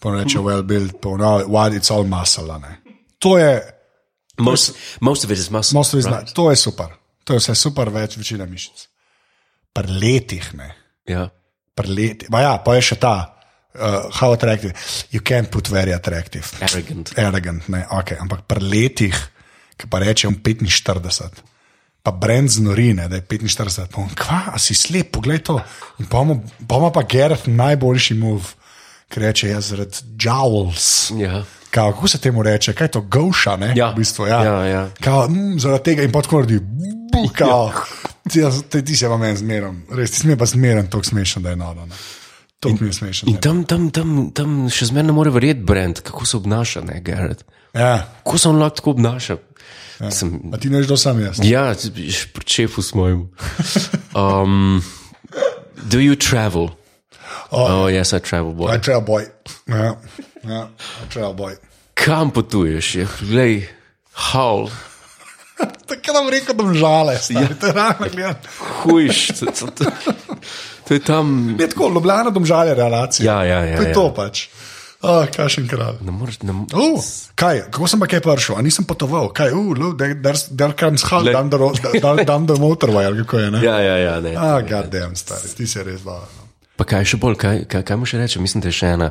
Pa on reče, well built, pa no, why it's all muscle, a ne. To je,
Most, most of it is muscle.
most of it is not- to je super, to je vse super, več večina mišic. Pri letih, ne.
Ja.
preleti. Ma ja, pa je še ta, uh, how attractive. You can't put very attractive.
Arrogant.
Arrogant, ne, ok. Ampak preletih, ki pa rečem 45. Pa brend znorine, da je 45, pa on, kva, a si slep, poglej to. In pa mu- pa ima pa Gerrit najboljši mov, ki reče, jaz zaradi jowls.
Ja.
Kao, kako se temu reče, kaj je to, goša, ne?
Ja.
V bistvu, ja.
Ja, ja.
Kao, mm, zaradi tega in podkordi, bukao. Ti, jaz- ti, ti se vam meni zmeram, res ti sme pa zmeram, tako smešen, da je noro. ne. To mi je smešen.
In tam, tam, tam, tam še zmeraj ne more verjeti, Brent, kako se obnaša, ne, Garrett.
da je. Ja.
Kako se on lahko tako obnaša? Ja. Sem,
A ti ne veš, kdo sem jaz.
ja, pri čefu smo jim. Um, do you travel?
ja.
Oh, oh yes, I travel. Boy.
A trail boy. Ja, ja, a trail boy.
Kam potuješ? Je, glej, howl.
Tako da vam rekel, da bom žale, stari, ja. to je ravno gledano.
hujš. To, to, to, to je tam.
Je tako, Ljubljana bom žale relacija.
Ja, ja, ja,
To je
ja.
to pač. Ah, kašen kralj.
Ne moreš, ne moreš.
Uh, kaj, kako sem pa kaj prišel, a nisem potoval, kaj, uh, look, there, there's- there comes hell,
Le-
down the, road, down, down the motorway, ali kako je, ne?
Ja, ja, ja, ne.
Ah, goddamn, stari, ti si res dobro. no.
Pa kaj še bolj, kaj, kaj, kaj mu še reče? Mislim, da je še ena,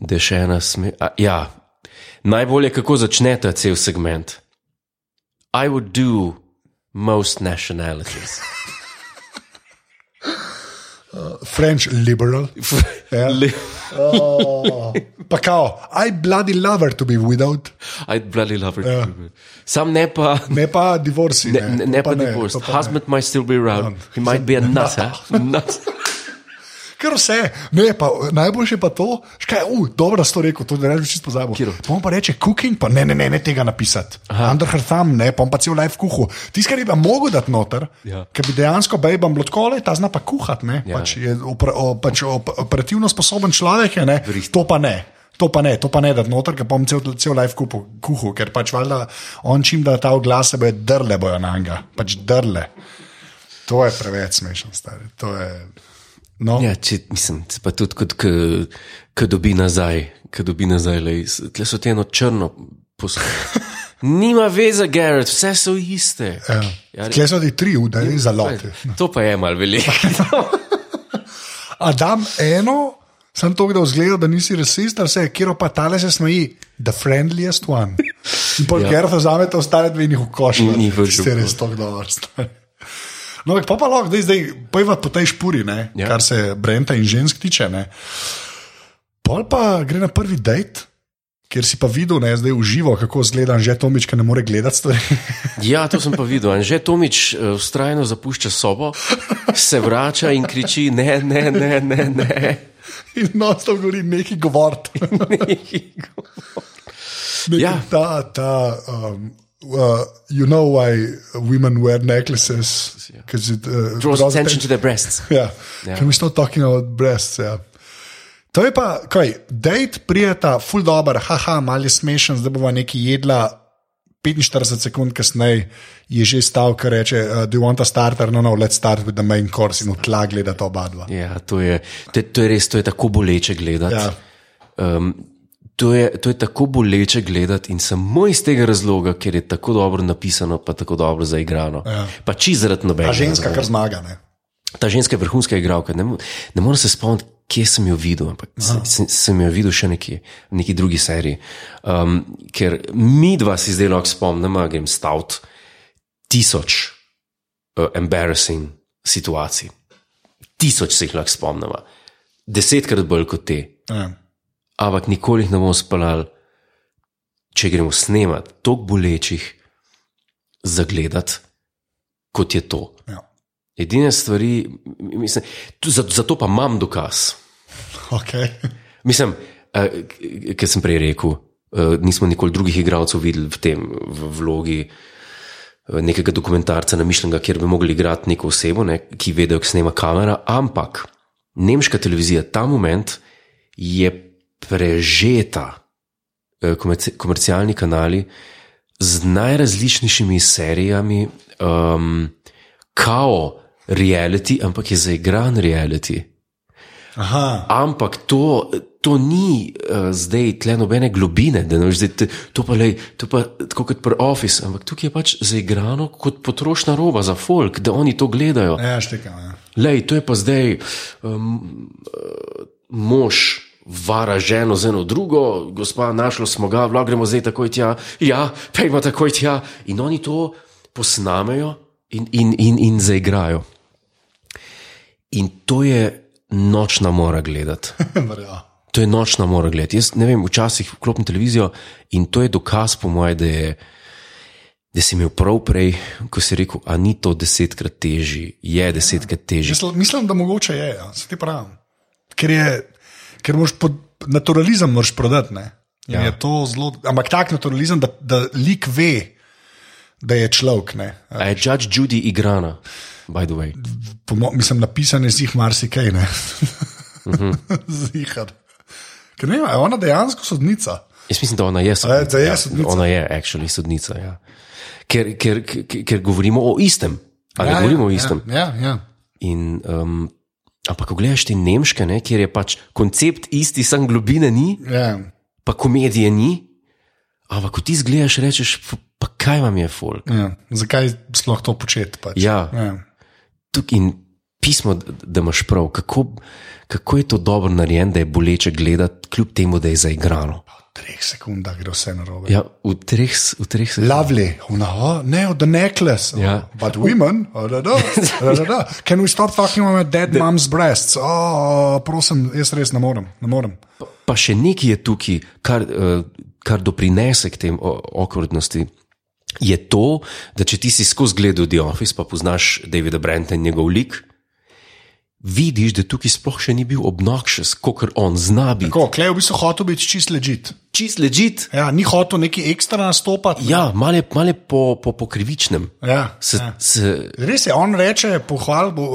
da je še ena sme. A, ja, najbolje, kako začne ta cel segment. I would do most nationalities.
Uh, French liberal. Ja.
Le-
Oh, pa kao, I bloody lover to be widowed,
I'd bloody love her. Sam ne pa.
ne pa divorci.
Ne, ne, ne
Ja. to
pa
to
divorced.
pa ne. Ja.
Husband might still be around. He might be a nut. eh? Nut.
Ker vse, ne, pa, najboljše pa to, škaj, uh, dobro si to rekel, to ne rečem, čisto pozabil.
Katero?
Pa On pa reče, cooking, pa ne, ne, ne, ne tega napisati. Under her thumb, ne, pa on pa cel life kuhu. Tiskar je pa mogel dati noter,
Ja.
ker bi dejansko bejbam blotkole, ta zna pa kuhati, ne.
Ja.
Pač je opra, o, pač op, operativno sposoben človek, je, ne, to pa ne. To pa ne, to pa ne, da noter, ker bom cel, cel life kupu, kuhu, ker pač valjda on čim da ta oglas, se bojo drle bojo na njega, pač drle. To je preveč smešno, stari. To je. No.
Ja, če, mislim, se pa tudi kot, ki dobi nazaj, ki dobi nazaj, lej, s- tle so ti eno črno poslušanje. Nima veze, Garrett, vse so iste. Ja, no.
Kje so ti tri udari za lote?
to pa je mal veliko.
A dam eno, sem to, da vzgleda, da nisi rasist, a vse, kjer pa tale se smeji, the friendliest one. In pol
Ja.
ja. gerfa zamete ostale dve in jih ukošlja.
In jih v žep.
Ste res to dobro. stari. No, ampak pa pa lahko, zdaj, zdaj pojva po tej špuri, ne,
Ja.
ja. kar se Brenta in žensk tiče. Ne. Pol pa gre na prvi dejt, kjer si pa videl, ne, zdaj uživo, kako zgledan že Tomič, ki ne more gledati stvari.
Ja, to sem pa videl. Anže Tomič eh, vztrajno zapušča sobo, se vrača in kriči: ne, ne, ne, ne. ne.
In non-stop govori neki govor.
Ja.
ja. Ta, ta, um, uh, you know why women wear necklaces. Because it uh,
Draws attention to their breasts.
Yeah.
Yeah.
Can we stop talking about breasts? Yeah. To je pa, kaj, dejt prijeta, full dobro, haha, malo je smešen, zdaj bova neki jedla. 45 sekund kasneje je že stav, ki reče: uh, Do you want a starter? No, no, let's start with the main course in v tla gledata oba dva.
Ja, to je, to, je- to je res, to je tako boleče gledati.
Ja.
Um, to, je, to je tako boleče gledati in samo iz tega razloga, ker je tako dobro napisano, pa tako dobro zaigrano. Ja. Pa či zaradi nobenega.
Ta ženska,
razloga.
kar zmaga. Ne?
Ta ženska je vrhunska igralka. Ne, mo- ne morem se spomniti, kje sem jo videl, ampak sem, sem, sem jo videl še nekje, v neki drugi seriji. Um, ker mi dva si zdaj lahko spomnimo, grem stavt tisoč uh, embarrassing situacij. Tisoč se jih lahko spomnimo, desetkrat bolj kot te,
Ja.
ampak nikoli jih ne bomo spalali, če gremo snemati toliko bolečih, zagledati, kot je to.
Ja.
Edine stvari, m- mislim, tu- za- zato pa imam dokaz.
Okay.
Mislim, eh, k- ker sem prej rekel, eh, nismo nikoli drugih igralcev videli v tem v vlogi eh, nekega dokumentarca, namišljenega, kjer bi mogli igrati neko osebo, ne, ki vedejo, kaj snema kamera, ampak nemška televizija ta moment je prežeta, eh, komerci- komercialni kanali z najrazličnejšimi serijami, um, kao reality, ampak je zaigran reality.
Aha,
Ampak to, to ni uh, zdaj tle nobene globine, da ne veš, zdaj, te- to pa je tako kot pri Office, ampak tukaj je pač zaigrano kot potrošna roba za folk, da oni to gledajo.
ja, štekam. Ja.
Lej, to je pa zdaj um, eh, mož. Vara ženo z eno drugo, gospa, našli smo ga, vlak gremo zdaj takoj tja, ja, pejmo takoj tja. In oni to posnamejo in, in, in, in zaigrajo. In to je nočna mora gledati.
Verjamem.
To je nočna mora gledati. Jaz ne vem, včasih vklopim televizijo in to je dokaz, po mojem, da, je- da si imel prav prej, ko si rekel, a ni to desetkrat težje, je desetkrat težje.
Jaz l- Mislim, da mogoče je, ja. se ti pravim. Ker, je, ker moraš pod naturalizem moraš prodati. Ne? Ja. Je to zelo, ampak tak naturalizem, da, da lik ve, da je človek. ne.
A je Judge Judy igrana, by the way.
Po mo- Mislim, napisan je zih marsikaj, ne. Zihar. Ker ne, vem, a je ona dejansko sodnica.
Jaz mislim, da ona je
A je,
sodnica.
da je sodnica?
ona je actually sodnica. Ja. Ker, ker, ker, ker govorimo o istem, ali ja, govorimo ja, o istem. Ja.
Ja, ja.
In, um, ampak, ko gledaš te nemške, ne, kjer je pač koncept isti, sam globine ni.
ja. ja.
pa komedije ni. Ampak, ko ti zgledaš, rečeš, "F- pa kaj vam je folk.
ja. Zakaj sploh to početi? Pač?
Ja.
ja.
Tukaj in pismo, d- da imaš prav, kako, kako je to dobro narejeno, da je boleče gledati, kljub temu, da je zaigrano.
treh sekundah gre vse na robe.
Ja, v treh, s- v treh sekundah.
Lovely, oh, no, no, the necklace. Oh,
Ja.
But women, oh, da, da, da, da, da. can we stop talking about dead mom's breasts? Oh, prosim, jaz res ne morem, ne morem.
Pa še nekaj je tukaj, kar, eh, kar doprinese k tem o- okordnosti. Je to, da če ti si skozi gledal The Office, pa poznaš Davida Brenta in njegov lik, vidiš, da tukaj sploh še ni bil obnoxious, kot on zna biti.
Tako, klej v bistvu hotel biti čist ležit.
Čist ležit,
Ja, ni hotel neki ekstra nastopati.
ja, malo je- malo je po, po, po krivičnem.
Ja,
Se,
ja.
se,
Res je, on reče, pohval bo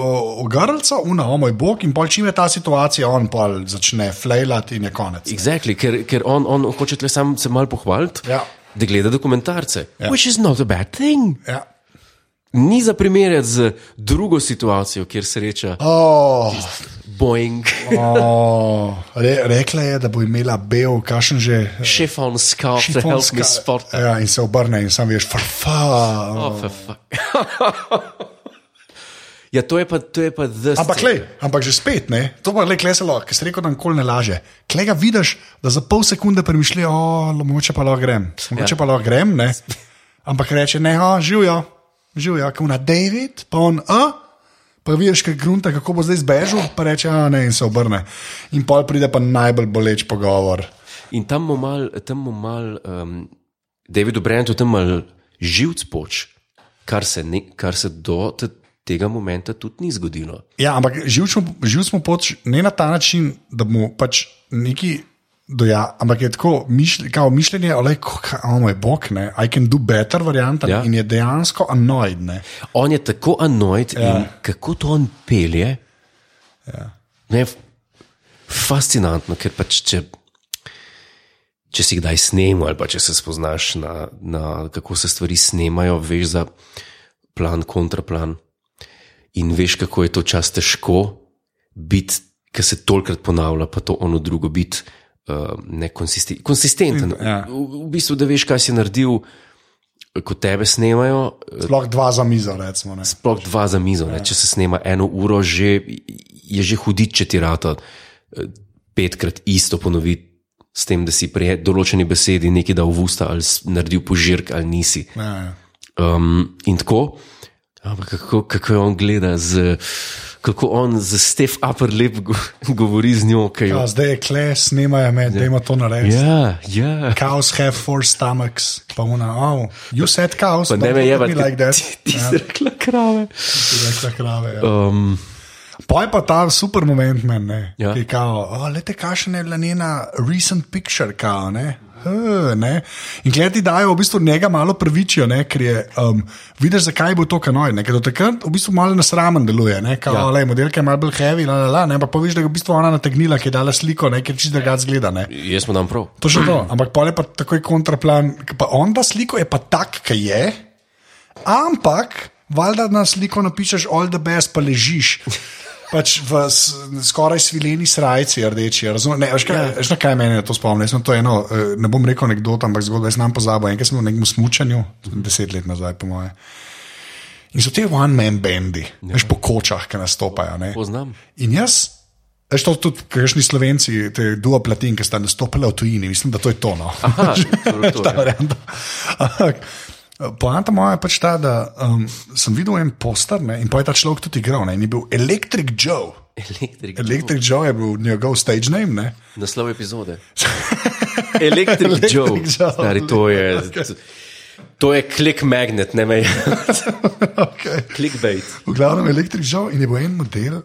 ogrlca, una, o moj bog, in pol čim je ta situacija, on pol začne flejlati in je konec.
exactly, ker, ker on, on hoče le sam se malo pohvaliti,
Ja.
da gleda dokumentarce, ja. which is not a bad thing.
Ja.
Ni za primerjati z drugo situacijo, kjer sreča
Oh,
Boeing.
oh, re, rekla je, da bo imela bel, kašen že. eh,
chiffon scarf to help
šifonska-
me spot that.
Ja, in se obrne in sam veš, farfa.
Oh, for fuck. ja, to je pa, to je pa the
Ampak,
scene.
le, ampak že spet, ne? to pa le klesalo, ki si rekel, da nikoli ne laže. Klej ga vidiš, da za pol sekunde premišlja, o, lo- mogoče pa lahko grem, mogoče ja. pa lahko grem, ne? Ampak reče, ne, o, živijo, živijo, kot na David, pa on, a. Pa vidiš, kaj grunta, kako bo zdaj zbežal, pa reče, a ne, in se obrne. In pol pride pa najbolj boleč pogovor.
In tam mu mal, tam mu mal um, Davidu Brentu tam mal živc poč, kar se, ne, kar se do te, tega momenta tudi ni zgodilo.
Ja, ampak živeli smo pač ne na ta način, da bomo pač neki doja, ampak je tako mišlj, kao mišljenje, ali kako moj bog, ne, I can do better varianta
Ja.
ja. in je dejansko anoid. Ne.
On je tako anoid ja. in kako to on pelje. Ja. Ne, f- fascinantno, ker pač če. Če si kdaj snemal, ali pa če se spoznaš na, na kako se stvari snemajo, veš za plan, kontraplan. In veš, kako je to čas težko biti, ker se tolikrat ponavlja, pa to ono drugo biti uh, nekonsisten- konsistenten.
Ja.
V, v bistvu, da veš, kaj si naredil, ko tebe snemajo,
Sploh dva za mizo, recimo. Ne.
Sploh dva za mizo, ja. če se snema eno uro, že, je že hudič, če ti rata eh, petkrat isto ponoviti, s tem, da si pri določeni besedi nekaj dal v usta ali s- naredil požirk ali nisi.
Ja, ja.
Um, in tako, ja, ampak kako, kako jo on gleda, z, kako on z Stef Upper lep go, govori z njo. kaj
Ja,
Jo,
zdaj je kle, snimajo me, da ima to narediti. Yeah.
ja, ja.
Cows have four stomachs, pa una, oh, you said cows,
Pa
but
ne me je,
look at me like
da
that. Ja.
ti, ti si rekla krave.
Ti rekla krave. Ja.
Um,
Poj pa ta super moment, men, ne,
Ja.
ja. ki je kao, oh, lete, kakšen je bila njena recent picture, kao, ne. Uh, ne. In gledaj, dajo v bistvu njega malo prvičijo, ne, ker je um, vidiš, zakaj bo to kanoj. Ne, ker do takrat v bistvu malo nasramen deluje, ne, kao,
Ja.
ja. le, modelka je malo bolj heavy, la, la, la, ne, ampak poviš, da je v bistvu ona nategnila, ki je dala sliko, ne, ker čisto drugače zgleda. Ne.
jaz mu dam prav.
Točno to, ampak pol je pa takoj kontraplan, ke pa on da sliko je pa tak, ki je, ampak valjda na sliko napišeš all the best, pa ležiš. Pač v s- skoraj svileni srajci, rdeči. Razumem, ne, veš, kaj, veš, na kaj meni je to spomni. Jaz sem to eno, eh, ne bom rekel anekdota, ampak zgodba, jaz nam pozabo. Enkrat sem bil na nekem smučanju, deset let nazaj, po moje. In so te one-man bendi, ja. veš, po kočah, ki nastopajo. Ne?
Poznam.
In jaz, veš, to tudi, kakšni slovenci, te duo platin, ki sta nastopila v tujini, mislim, da to je tono.
Aha, torej to,
ta
ja.
varianta. Ampak, Poanta moja je pač ta, da um, sem videl en poster ne, in pa je ta človek tudi igral. Ne, in je bil Electric Joe.
Elektrik.
Electric Joe je bil njegov stage name. Ne.
Naslov epizode. Electric, Electric
Electric
Joe.
Joe.
Stari, to je. To je klik magnet, ne me.
Okay.
Clickbait.
V glavnem Electric Joe in je bil en model.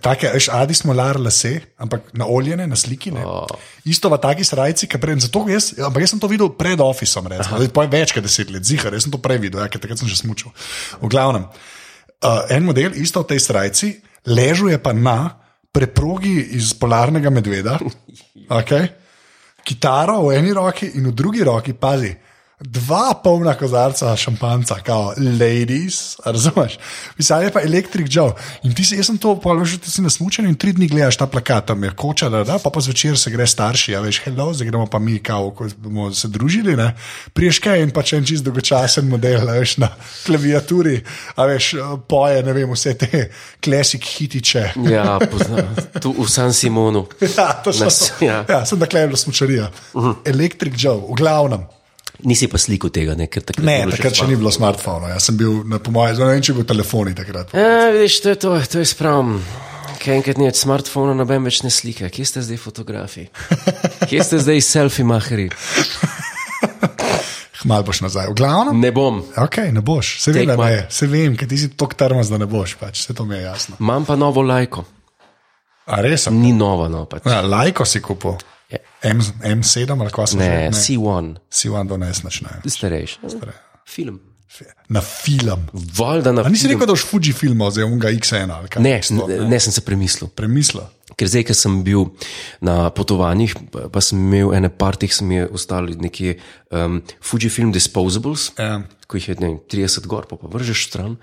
Take, veš, adi smo lar lase, ampak naoljene na sliki. Ne? Oh. Isto v taki srajci, ki prej. Zato jaz, ampak jaz sem to videl pred ofisom, recimo, to je več kot deset let, zihar, jaz sem to prej videl, ja, ker takrat sem že smučil. V glavnem, uh, en model, isto v tej srajci, ležuje pa na preprogi iz polarnega medveda. Okay? kitaro v eni roki in v drugi roki, pazi, Dva polna kozarca šampanca, kao ladies, a razumeš? Pisal je pa Electric Joe. In ti si, jaz sem to položil, ti si nasmučen in tri dni gledaš ta plakat, tam je koča, da, da, pa pa zvečer se gre starši, a veš, hello, zdaj gremo pa mi, kao, ko bomo se družili, ne? Priješ kaj in pa če en čist dolgočasen model, a veš, na klaviaturi, a veš, poje, ne vem, vse te klasik hitiče.
Ja, poznam. Tu v San Simonu.
Ja, to so,
Nas- ja. Mhm.
ja, sem takle je bila smučarija. Electric Joe, v glavnem.
Nisi pa sliko tega, ne? ker takrat
Ne,
je bilo
takrat še
spa-
ni bilo smartfona. Jaz sem bil, na, po mojem, zelo ne vem, če je bil telefon takrat.
Ja, vidiš, to je to, to je spravim. Ker enkrat ni več smartfona, noben več ne slika. Kje ste zdaj fotografi? Kje ste zdaj selfie maheri?
Mal boš nazaj. V glavnem,
Ne bom.
ok, ne boš. Se vem,
Take
da
my-
ne, se vem, ker ti si tok termas, da ne boš, pač. se to mi je jasno.
Imam pa novo lajko.
A res? a?
Ni nova, no pač.
Ja, lajko si kupil.
Ja.
M, M7 ali kaj se
Ne,
že.
C1,
Si vam dones načne.
starejši. Film.
Na film.
Valjda na
A nisi
film.
rekel, da boš Fuji film oziroma unga X1 ali kaj?
Ne, ne, Ja. ne sem se premislil.
Premisla.
Ker zdaj, ko sem bil na potovanjih, pa- pa sem imel ene partih, sem je ostali neki um, Fujifilm Disposables,
Ja.
ko jih je ne, vem, 30 gor, pa, pa vržeš stran.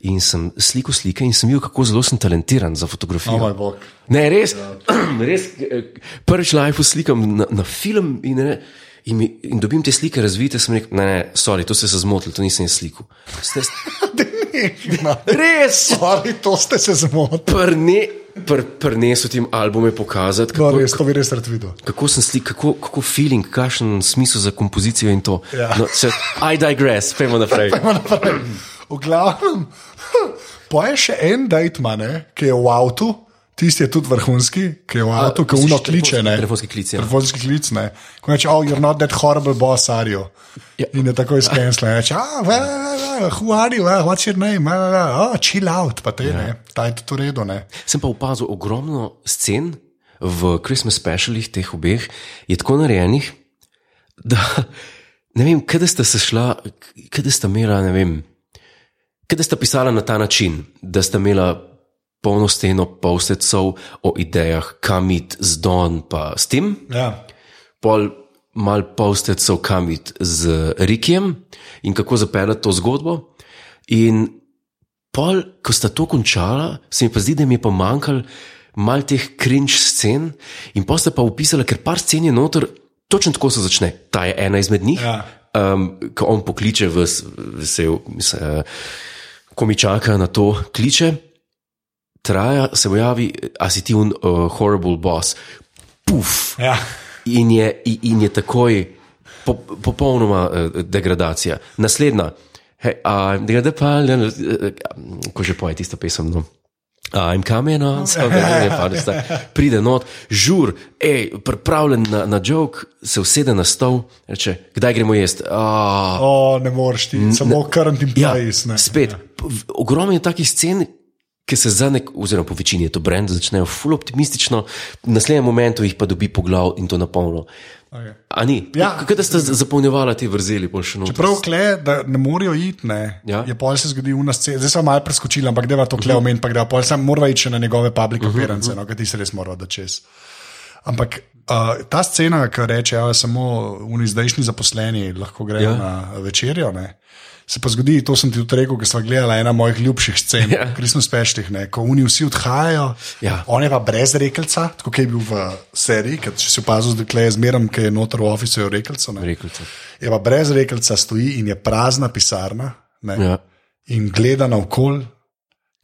In sem slikal slike in sem videl, kako zelo sem talentiran za
O
fotografijo.
moj Oh bog.
Ne, res, res eh, prvič live slikam na, na film in, ne, in, mi, in dobim te slike razvite, sem rekel, ne, ne, sorry, to ste se zmotili, to nisem jaz slikal. Ste, res,
Stvari, to ste se zmotili.
prne, pr, prnesel tim albume pokazati,
No,
kako,
res, to bi res rad videl.
kako sem slik, kako, kako feeling, kakšen smisel za kompozicijo in to.
Ja.
No, se, I digress, pojmo naprej.
Gremo naprej. V glavnem, poje še en dejtma, ki je v avtu, tisti je tudi vrhunski, ki je v avtu, ki uno
misliš
kliče. ne.
telefonski klic, ja.
Telefonski klic, ne. Ko reče, oh, you're not that horrible boss, are you?
Ja.
In je tako izkensla. Reče, ah, well, well, well, who are you, well, what's your name, well, well, well, oh, chill out, pa
Ja.
te ne, ta je tudi v redu, ne.
Sem pa opazil ogromno scen v Christmas specialih teh obeh, je tako narejenih, da ne vem, kdaj sta se šla, kdaj sta imela, ne vem, kdaj sta pisala na ta način, da sta imela. Polno steno povsecov o idejah, kam iti z Don, pa s tem,
Ja.
pol mal povstecov kamit z Rikijem in kako zapeljati to zgodbo. In pol, ko sta to končala, se mi pa zdi, da mi je pa manjkalo mal teh cringe scen, in pa sta pa upisala, ker par scen je noter, točno tako se začne. Ta je ena izmed njih,
Ja.
um, ko on pokliče v eh, vesel, mislim, komičaka na to kliče traja, se pojavi, a si ti un uh, horrible boss. Puf.
Ja.
In je, in- in je takoj po, popolnoma uh, degradacija. Naslednja, hey, I'm the Depaljan, ko že poje tisto pesem. No. I'm coming on, so ne padeš. Pride not, žur, ej, pripravljen na, na jok, se usede na stol, reče, kdaj gremo jesti. Ah,
O, ne moreš ti, samo current in
Ja,
place. ne.
spet, p- v- ogromno je takih scen, ki se za nek, oziroma po večini je to brend, začnejo ful optimistično, v naslednjem momentu jih pa dobi poglav in to napolno.
Okay.
A ni?
Ja.
Kako da ste z- zapolnjevali te vrzeli, bolj še noč?
Prav kle, da ne morajo iti, ne.
Ja.
Je pol se zgodi v nas, zdaj sem malo preskočil, ampak deva to kle omen, pa greva pol sem mora iti še na njegove public appearance, no, kaj ti se res mora da čez. Ampak uh, ta scena, ki reče, da samo oni zdajšnji zaposleni lahko grejo ja. na večerjo, ne? se pa zgodi, to sem ti tudi rekel, ker smo gledali ena mojih ljubših scen, ja. Christmas Pešnih, ko oni vsi odhajajo,
Ja.
on je pa brez rekelca, tako kot je bil v seriji, ker če si opazil, da je zmeraj, ki je noter v ofisu, je rekelca. ne.
Rekelca.
Je pa brez rekelca stoji in je prazna pisarna. ne,
Ja.
In gleda naokol,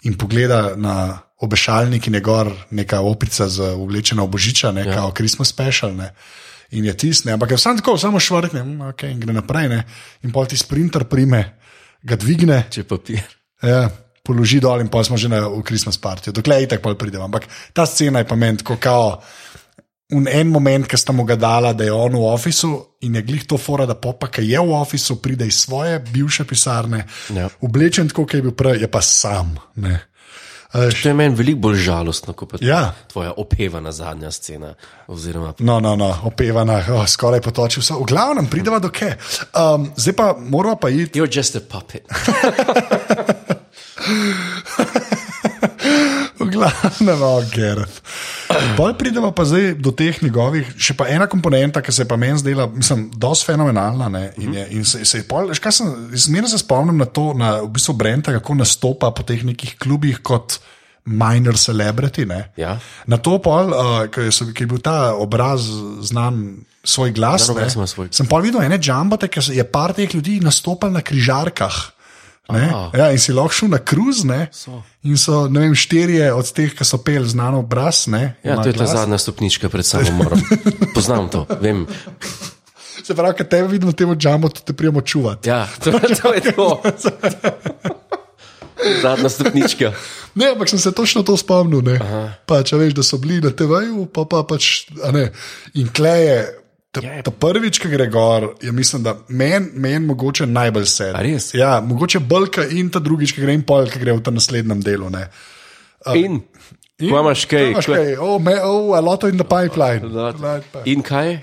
in pogleda na obešalnik in je gor neka opica z oblečeno božiča, ne, ja. kao Christmas special. Ne. In je tisne, ampak je sam tako, samo švrkne, mm, okay, in gre naprej. Ne. In pol ti sprinter prime, ga dvigne,
Če papir.
ja, položi dol in pa smo že na v Christmas partiju, dokler je tako pridem. Ampak ta scena je pa meni tako kao. V en moment, ki sta mu ga dala, da je on v ofisu in je glih to fora, da popa, ki je v ofisu, pride iz svoje bivše pisarne,
Ja.
oblečen tako, kot je bil prej, je pa sam. ne. A veš,
To je meni veliko bolj žalostno, kot pa
Ja.
tvoja opevana zadnja scena. Oziroma,
No, no, no, opevana, oh, skoraj potočil se. V glavnem, prideva do kje. Um, zdaj pa moramo pa iti.
you're just a puppet.
V gla- Ne, no, Gareth. Pol pridemo pa zdaj do teh njegovih, še pa ena komponenta, ki se je pa meni zdela, mislim, dosti fenomenalna. Ne,
Mhm.
in je, in se, se je pol, veš, kaj sem, zmerno se spomnim na to, na v bistvu Brenta, kako nastopa po teh nekih klubih kot minor celebrity. Ne.
Ja.
Na to pol, uh, ki, so, ki je bil ta obraz znan, svoj glas,
Znan obraz
ne,
ima svoj-
sem pa videl ene džambate, ker je par teh ljudi nastopal na križarkah. Ne,
Aha.
ja, in si lahko šel na kruz, ne,
So.
in so ne vem, štirje od teh, ki so pel znan obraz. Ne,
Ja,
ima
to je ta
glas.
zadnja stopnička pred samomorom. Poznam to, vem.
Se pravi, ker tebe vidimo, temu džambo tudi prijemo čuvati.
Ja, to, to je to. Zadnja stopnička.
Ne, ampak sem se točno to spomnil. ne. Pač, a veš, da so bili na TV-ju, pa, pa pač, a ne. In kleje, ta,
Ja, je-
ta prvič, ki gre gor, je mislim, da meni men mogoče najbolj sedi.
A res?
Ja, mogoče Belka in ta drugič, ki gre in pol, ki gre v ta naslednjem delu. Ne.
In, in ko imaš kaj,
Imaš
ko-
kaj, oh, me, oh, a lot in the pipeline.
Da,
Pipeline.
in kaj?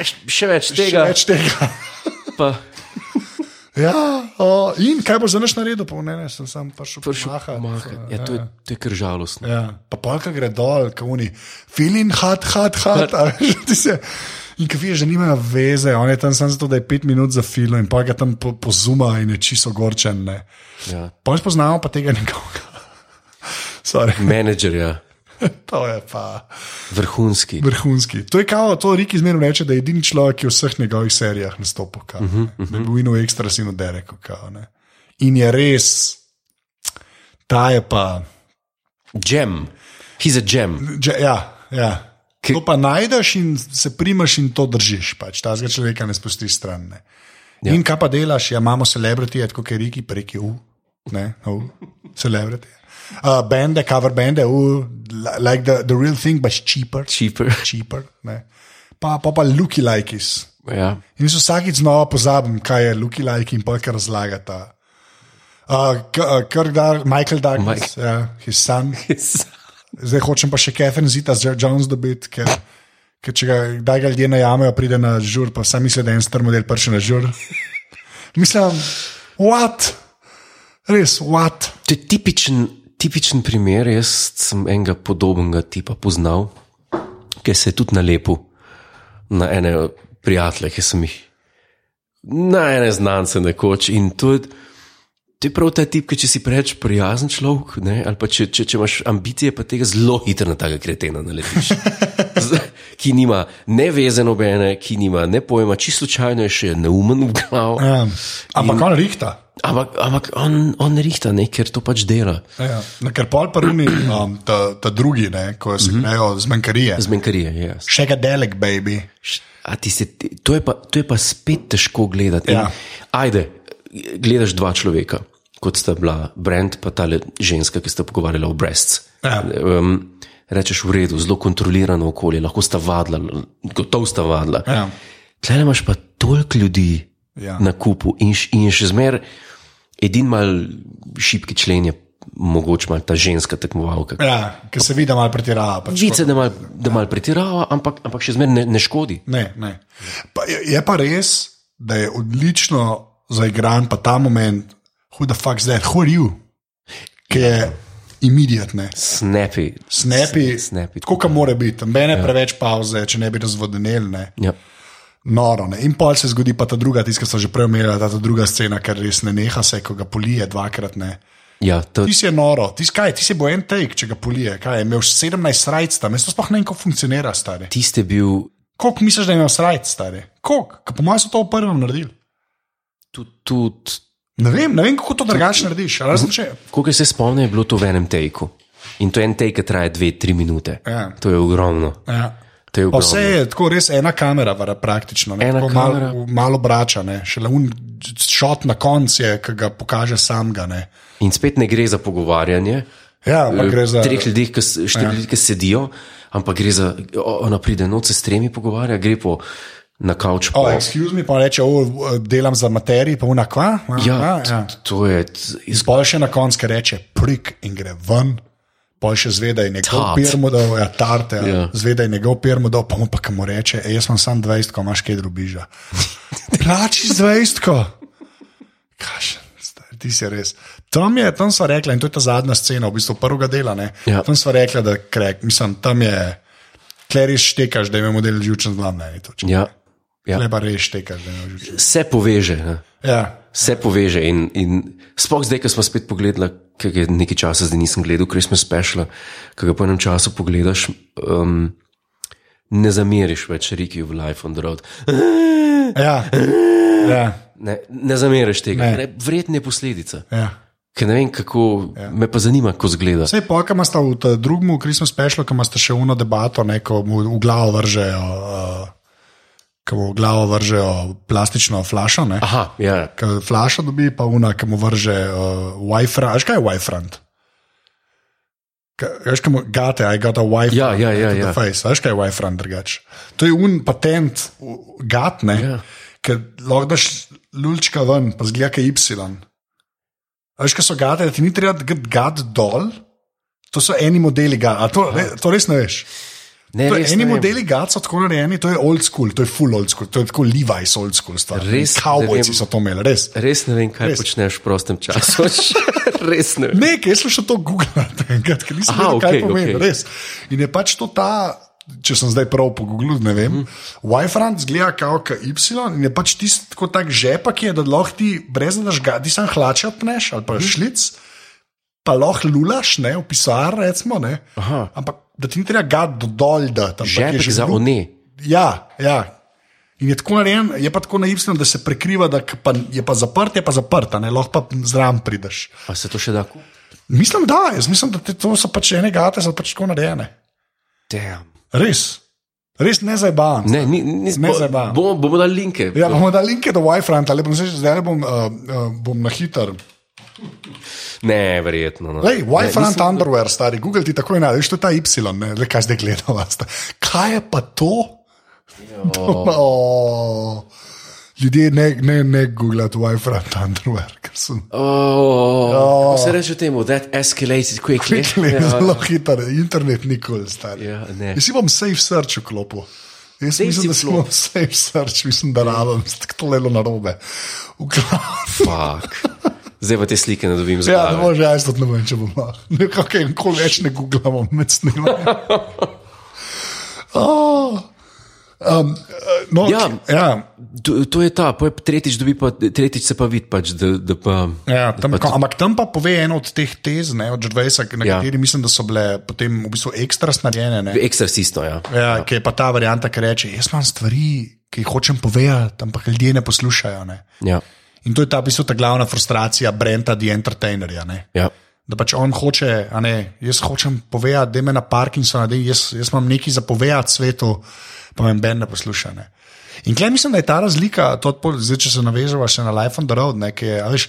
Eš- Še več
Še
tega.
več tega.
Pa,
Ja, o, in kaj boš za naš naredil? Pa, ne, ne, sem sam prišel
Prišel
pomahat.
Maha, ja, to, je, to je kar žalostno.
Ja, pa polka gre dol, kauni, filin, hat, hat, hat. a veš, ti Se, in ki vidiš, da nimajo veze, on je tam samo zato, da je pet minut za filo in pa ga tam po, pozuma in je čisto gorčen. ne.
Ja.
Pač poznamo pa tega nekoga. Sorry,
Menedžer, ja.
to je pa
vrhunski.
vrhunski. To je kao, to Riki zmerno reče, da je edini človek, ki je v vseh njegovih serijah nastopil. Kao, uh -huh, uh -huh. Da je bil in v ekstra sinu Dereku. Kao, ne. in je res, ta je pa.
Gem, he's a gem.
Že, ja, ja.
Ki-
To pa najdeš in se primaš in to držiš. Pač. Ta zga človeka ne spusti stran. Ne. Ja. In kaj pa delaš, ja, imamo celebrity, tako kot je Riki, preki U, ne, U, celebrity. Uh, bende, cover bende, U, li- like the, the real thing, but cheaper.
Cheaper.
cheaper ne. pa, pa pa Luki Likis.
Ja.
In jaz vsakič znova pozabim, kaj je Luki Like in polk razlagata. Uh, K- uh, Kirk Dar, Michael Douglas, Mike. ja, his son. Zdaj hočem pa še Kevin Zita z Jones dobiti, ker, ker če ga kdaj ga ljudje najamejo, pride na žur, pa sam misli, da je en star model prši na žur. Mislim, what? Res, what?
To je tipičen, tipičen primer. Jaz sem enega podobnega tipa poznal, ki se je tudi nalepil na ene prijatelje, ki sem jih, na ene znance nekoč. In to je, to je prav ta tip, ki če si preveč prijazen človek, ne, ali pa če, če, če imaš ambicije, pa tega zelo hitro na tega kretena naletiš. Z- ki nima ne veze nobene, ki nima ne pojma, čisto slučajno je še neumen v glavu.
Um, ampak on rihta.
Ampak, ampak on, on rihta, ne, ker to pač dela.
Ja, na kar pol prvi, um, ta, ta drugi, ne, ko se grejo z manjkarije.
Zmenkarije, jaz.
Še ga delek, baby.
A ti se, ti- to, je pa, to je pa spet težko gledati. In
Ja.
Ajde, gledaš dva človeka, kot sta bila Brent in ta ženska, ki sta pogovarjala o brests.
Ja.
Um, rečeš v redu, zelo kontrolirano okolje, lahko sta vadla, gotovo sta vadla.
Ja.
Tle imaš pa toliko ljudi
Ja.
na kupu in, š- in še zmeraj edin mal šipki člen je mogoče mal ta ženska tekmovalka.
Ja, ker se vidi, da malo pretirava. Pač.
Vice, da mal, da mal pretirava, ampak, ampak še zmeraj ne, ne škodi.
Ne, ne. Pa, je, je pa res, da je odlično zaigran pa ta moment, who the fuck's that, who are you, ki je imediatne.
Snapi.
Snapi,
Snapi.
tako kot mora biti, mene ja. preveč pauze, če ne bi razvodenel, ne.
Ja.
noro. Ne. In pol se zgodi pa ta druga, tiska so že prej omenila, ta, ta druga scena, ker res ne neha se, ko ga polije dvakrat. Ne.
Ja, to,
Ti si je noro, ti si kaj, ti si bo en take, če ga polije, kaj je imel 17 srajc tam, jaz to sploh ne vem, kako funkcionira, stari.
tiste bil,
Koliko misliš, da je imel srajc, stari? Koliko? Ker Po mojem so to v prvem naredili.
tudi, tudi
Ne vem, ne vem kako to drugače narediš. a Razen če.
koliko se spomnim, je bilo to v enem tejku. In to je en tej, ki traja dve, tri minute.
Ja.
To je ogromno.
Ja.
To je
Pa
ogromno.
vse je tako, res ena kamera, vara, praktično. Ne,
Ena
tako malo-
kamera.
Malo brača, ne. šele un šot na koncu je, ki ga pokaže sam. Ga, ne.
In spet ne gre za pogovarjanje.
ja, ampak
Eh,
gre za.
Treh ljudi, ki, s- štiri ja. ljudi, ki sedijo, ampak gre za, o, ona pride noč se s tremi pogovarja, gre po na kavč.
O,
po-
excuse me, pa reče, o, delam za materij, pa unakva.
ja, ja. To je t- iz-
Pol še na koncu ki reče prik in gre ven, pol še zveda in njegov
Tart.
pirmodov, ja, tarte, ja.
Ja.
zveda in njegov pirmodov, pa mu pa kam reče, e, jaz sem sam 20, ko imaš kaj drubiža. Plači z 20, kašen, stari, ti si res. Tam, je, tam so rekli, in to je ta zadnja scena, v bistvu prvega dela. Ne?
Ja.
Tam so rekli, da krek, mislim, tam je, kler res štekaš, da imamo model žučen zlam na eni točki.
Ja, ja.
Lepa res štekaš, da imamo žučen.
Se poveže. Ne?
Ja.
Vse poveže in, in sploh zdaj, ko smo spet pogledali, ker je nekaj časa zdaj nisem gledal, ker smo spešla, ki ga po enem času pogledaš, um, ne zameriš več Riki v Life on the Road.
Ja. ja.
Ne, ne zameriš tega,
Ne.
ne. verjetno je posledica.
ja.
Ker ne vem, kako ja. me pa zanima, ko zgleda.
Vse pokaj imaš v ta drugem, v Christmas specialu, ki imaš še uno debato, ne, ko mu v glavo vržejo, uh, ko mu v glavo vržejo plastično flašo. Ne,
Aha, ja, ja.
ko flašo dobi, pa una, ki mu vrže uh, Wi-Fi. Veš kaj je Wi-Fi? Veš, kaj mu gate, I got a Wi-Fi.
Ja, ja, ja, ja.
Face. Veš, kaj je Wi-Fi drugače. To je un patent, v- gatne,
Ja.
ja. ker lahko daš lulčka ven, pa zgleda, kaj je Y. Veš, kaj so gate, da ti ni treba gati gat dol. To so eni modeli, ga, a to, re, to res ne veš.
Ne,
To,
Ja, res, ne
eni
vem.
modeli GAT so tako narejeni, to je old school, to je full old school, to je tako Levi's old school stvar.
Res ne
Kavbojci
vem.
so to imeli, res.
Res ne vem, kaj res.
Res.
počneš v prostem času. res ne vem.
Ne, ker jaz sem še to googlal, enkrat, ker nisem
Aha,
vedel, kaj
okej,
okay, pomeni.
okej.
Okay. Res. In je pač to ta, če sem zdaj prav pogooglil, ne vem. Mm. Wi-Fi zgleda kao KY in je pač tisti tako tak žepa, ki je, da lahko ti brez da daš ga, ti sam hlače opneš ali pa
Mhm.
mm. šlic, pa lahko lulaš, ne, v pisar, recimo, ne.
Aha.
Ampak da ti ni treba ga dol, da tam
Žepek za one.
Ja, ja. In je tako narejen, je pa tako naivno, da se prekriva, da k- pa, je pa zaprt, je pa zaprt, a ne lahko pa zraven prideš.
Pa se to še da kupiti?
Mislim, da, jaz mislim, da te, to so pač ene gate, so pač tako narejene.
Damn.
Res, res ne zabavam.
Ne, ni, ni,
Ne
bo-
zabavam.
Bomo, bomo dali linke.
Ja, bomo dali linke do Wi-Fi, ali bom zdaj, zdaj bom, uh, uh, bom na hiter.
Ne, verjetno. No.
Lej, Wi-Fi
Ne,
and underwear, stari, Google ti takoj najde, veš, to je ta Y, ne, le kaj zdaj gledala. sta. Kaj je pa to? To pa, o, Ljudje ne, ne, ne googlate Wi-Fi and underwear, ker sem
Oh, Kako se reče temu, that escalated quickly.
kliknil
Ja,
zelo hiter, internet nikoli, stari.
Ja, ne.
Jaz si bom safe search vklopil. Jaz
Safe
safe mislim, da
si
sem imel safe search, mislim, da rabim, tako to lelo na robe.
Fuck. Zdaj pa te slike ne dobim za
Ja, ne
glavo.
može, jaz tudi ne vem, če bom lahko. Nekako je nikoli več ne googlamo med snemanjem. Oh. Um, eh, no,
Ja.
ki- ja,
To, to je ta, poj, tretjič, dobi pa, tretjič se pa vidi, pač, da, da pa.
Ja, tam, ko, ampak tam pa pove eno od teh tez, ne, od Džrvesa, na
Pač- Ja.
ja. kateri mislim, da so bile potem v bistvu ekstra snarjene. Ne.
Ekstra sisto, ja.
Ja, ki je pa ta varianta, ki reče: Jaz imam stvari, ki jih hočem povedati, ampak ljudje ne poslušajo. Ne.
ja.
In to je ta, v bistvu, ta glavna frustracija Brenta, the entertainerja. Ne.
ja.
Da pač on hoče, a ne, jaz hočem povedati, da me na Parkinsona, da jaz, jaz imam nekaj zapovedati svetu, pa me Ben ne posluša. Ne. In klej mislim, da je ta razlika, to odpo- zdaj, če se navežemo še na Life on the Road, ne, ki je, a veš,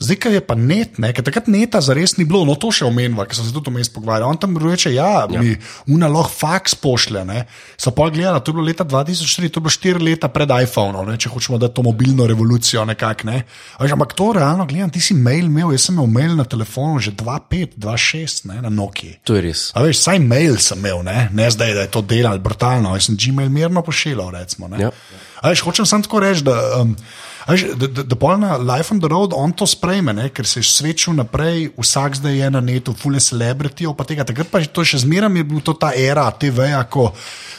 zdaj, ker je pa net, ne, ker takrat neta zares ni bilo, no to še omenjava, ker sem se tudi vmes pogovarjal. On tam reče, ja, ja. mi unaloh faks pošlje. Ne. So pa gledali, to je bilo leta 2004, to je bilo štiri leta pred iPhonom, ne, če hočemo dati to mobilno revolucijo nekako. Ne. A veš, Ampak to realno gledam, ti si mail imel, jaz sem imel mail na telefonu že 2.5, 2.6, ne, na Nokia.
To je res.
A veš, saj mail sem imel, ne, ne zdaj, da je to delal brutalno, jaz sem Gmail mirno pošiljal. Recimo, ne.
Ja.
A veš, hočem samo tako reči, da, um, a veš, da, da, da polna Life on the Road on to sprejme, ne, ker se je svečil naprej, vsak zdaj je na netu, fulje celebritijo, pa tega. Takrat pa je to še zmeraj je bil to ta era TV-ja, ko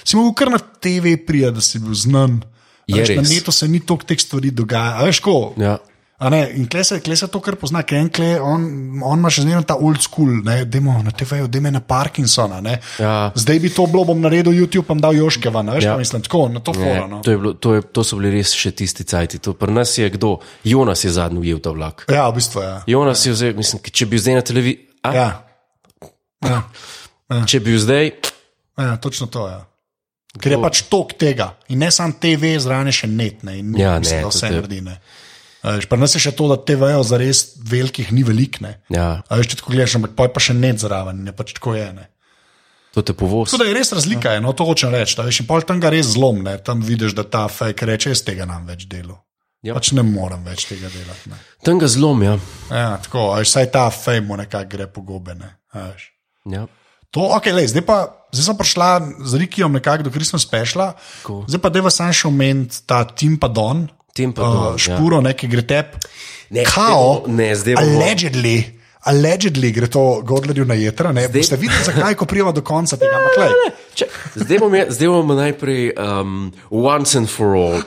si mogel kar na TV prija, da si bil znan. A
Je
Veš, na
res.
netu se ni toliko teh stvari dogaja. A Veš, ko,
Ja.
A Ne, in kle se, kle se to kar pozna, ker en kle, on, on ima še zmeraj ta old school, ne, demo na TV-ju, demo na Parkinsona. Ne.
Ja.
Zdaj bi to bilo, bom naredil YouTube, pa bom dal Joške van, a veš,
Ja.
ja. mislim, tako, na to
Ne,
foro. No.
to, je bilo, to, je, to so bili res še tisti cajti. To pri nas je kdo, Jonas je zadnji ujel ta vlak.
Ja, v bistvu, ja.
Jonas je vzel, mislim, če bi bil zdaj na televiziji,
Ja,
ja.
ja,
če bi bil zdaj,
ja točno to, ja. Ker je pač tok tega in ne samo TV, zraven je še net, ne, in
Ja, ne,
mislim, da
to
vse
te-
naredi. Ne. A veš, Pri nas je še to, da TV-jev za res velikih ni velik, ne.
ja,
A veš, če tako gledaš, ampak pol je pa še net zraven, ne pač tako je. Ne.
to te povoz.
Tako da je res
Ja.
razlika, eno to hočem reči. da Veš, in pol tam ga res zlom, ne? tam vidiš, da ta fake reče: jaz tega nam več delo.
Ja.
Ja. Pač ne morem več tega delati. Ne.
Tam ga zlom, ja.
Ja, tako, a veš, saj ta fake mu nekako gre pogobene.
ja.
To, ok, lej, zdaj pa zdaj sem prišla z Rikijem nekako do Krisma spešla,
Cool.
zdaj pa deva sam še omeniti ta Tim Padon,
Tim pa
uh,
dol, ja.
špuro, ja. neki gre tep.
Ne,
Kao,
zdaj bomo- ne, zdaj bomo-
allegedly, allegedly gre to Godlerju na jetra. Ne? Boste videli, zakaj, ko prijemo do konca tega. Ampak, glej,
Če, zdaj, bom, jaz- zdaj bomo najprej um, once and for all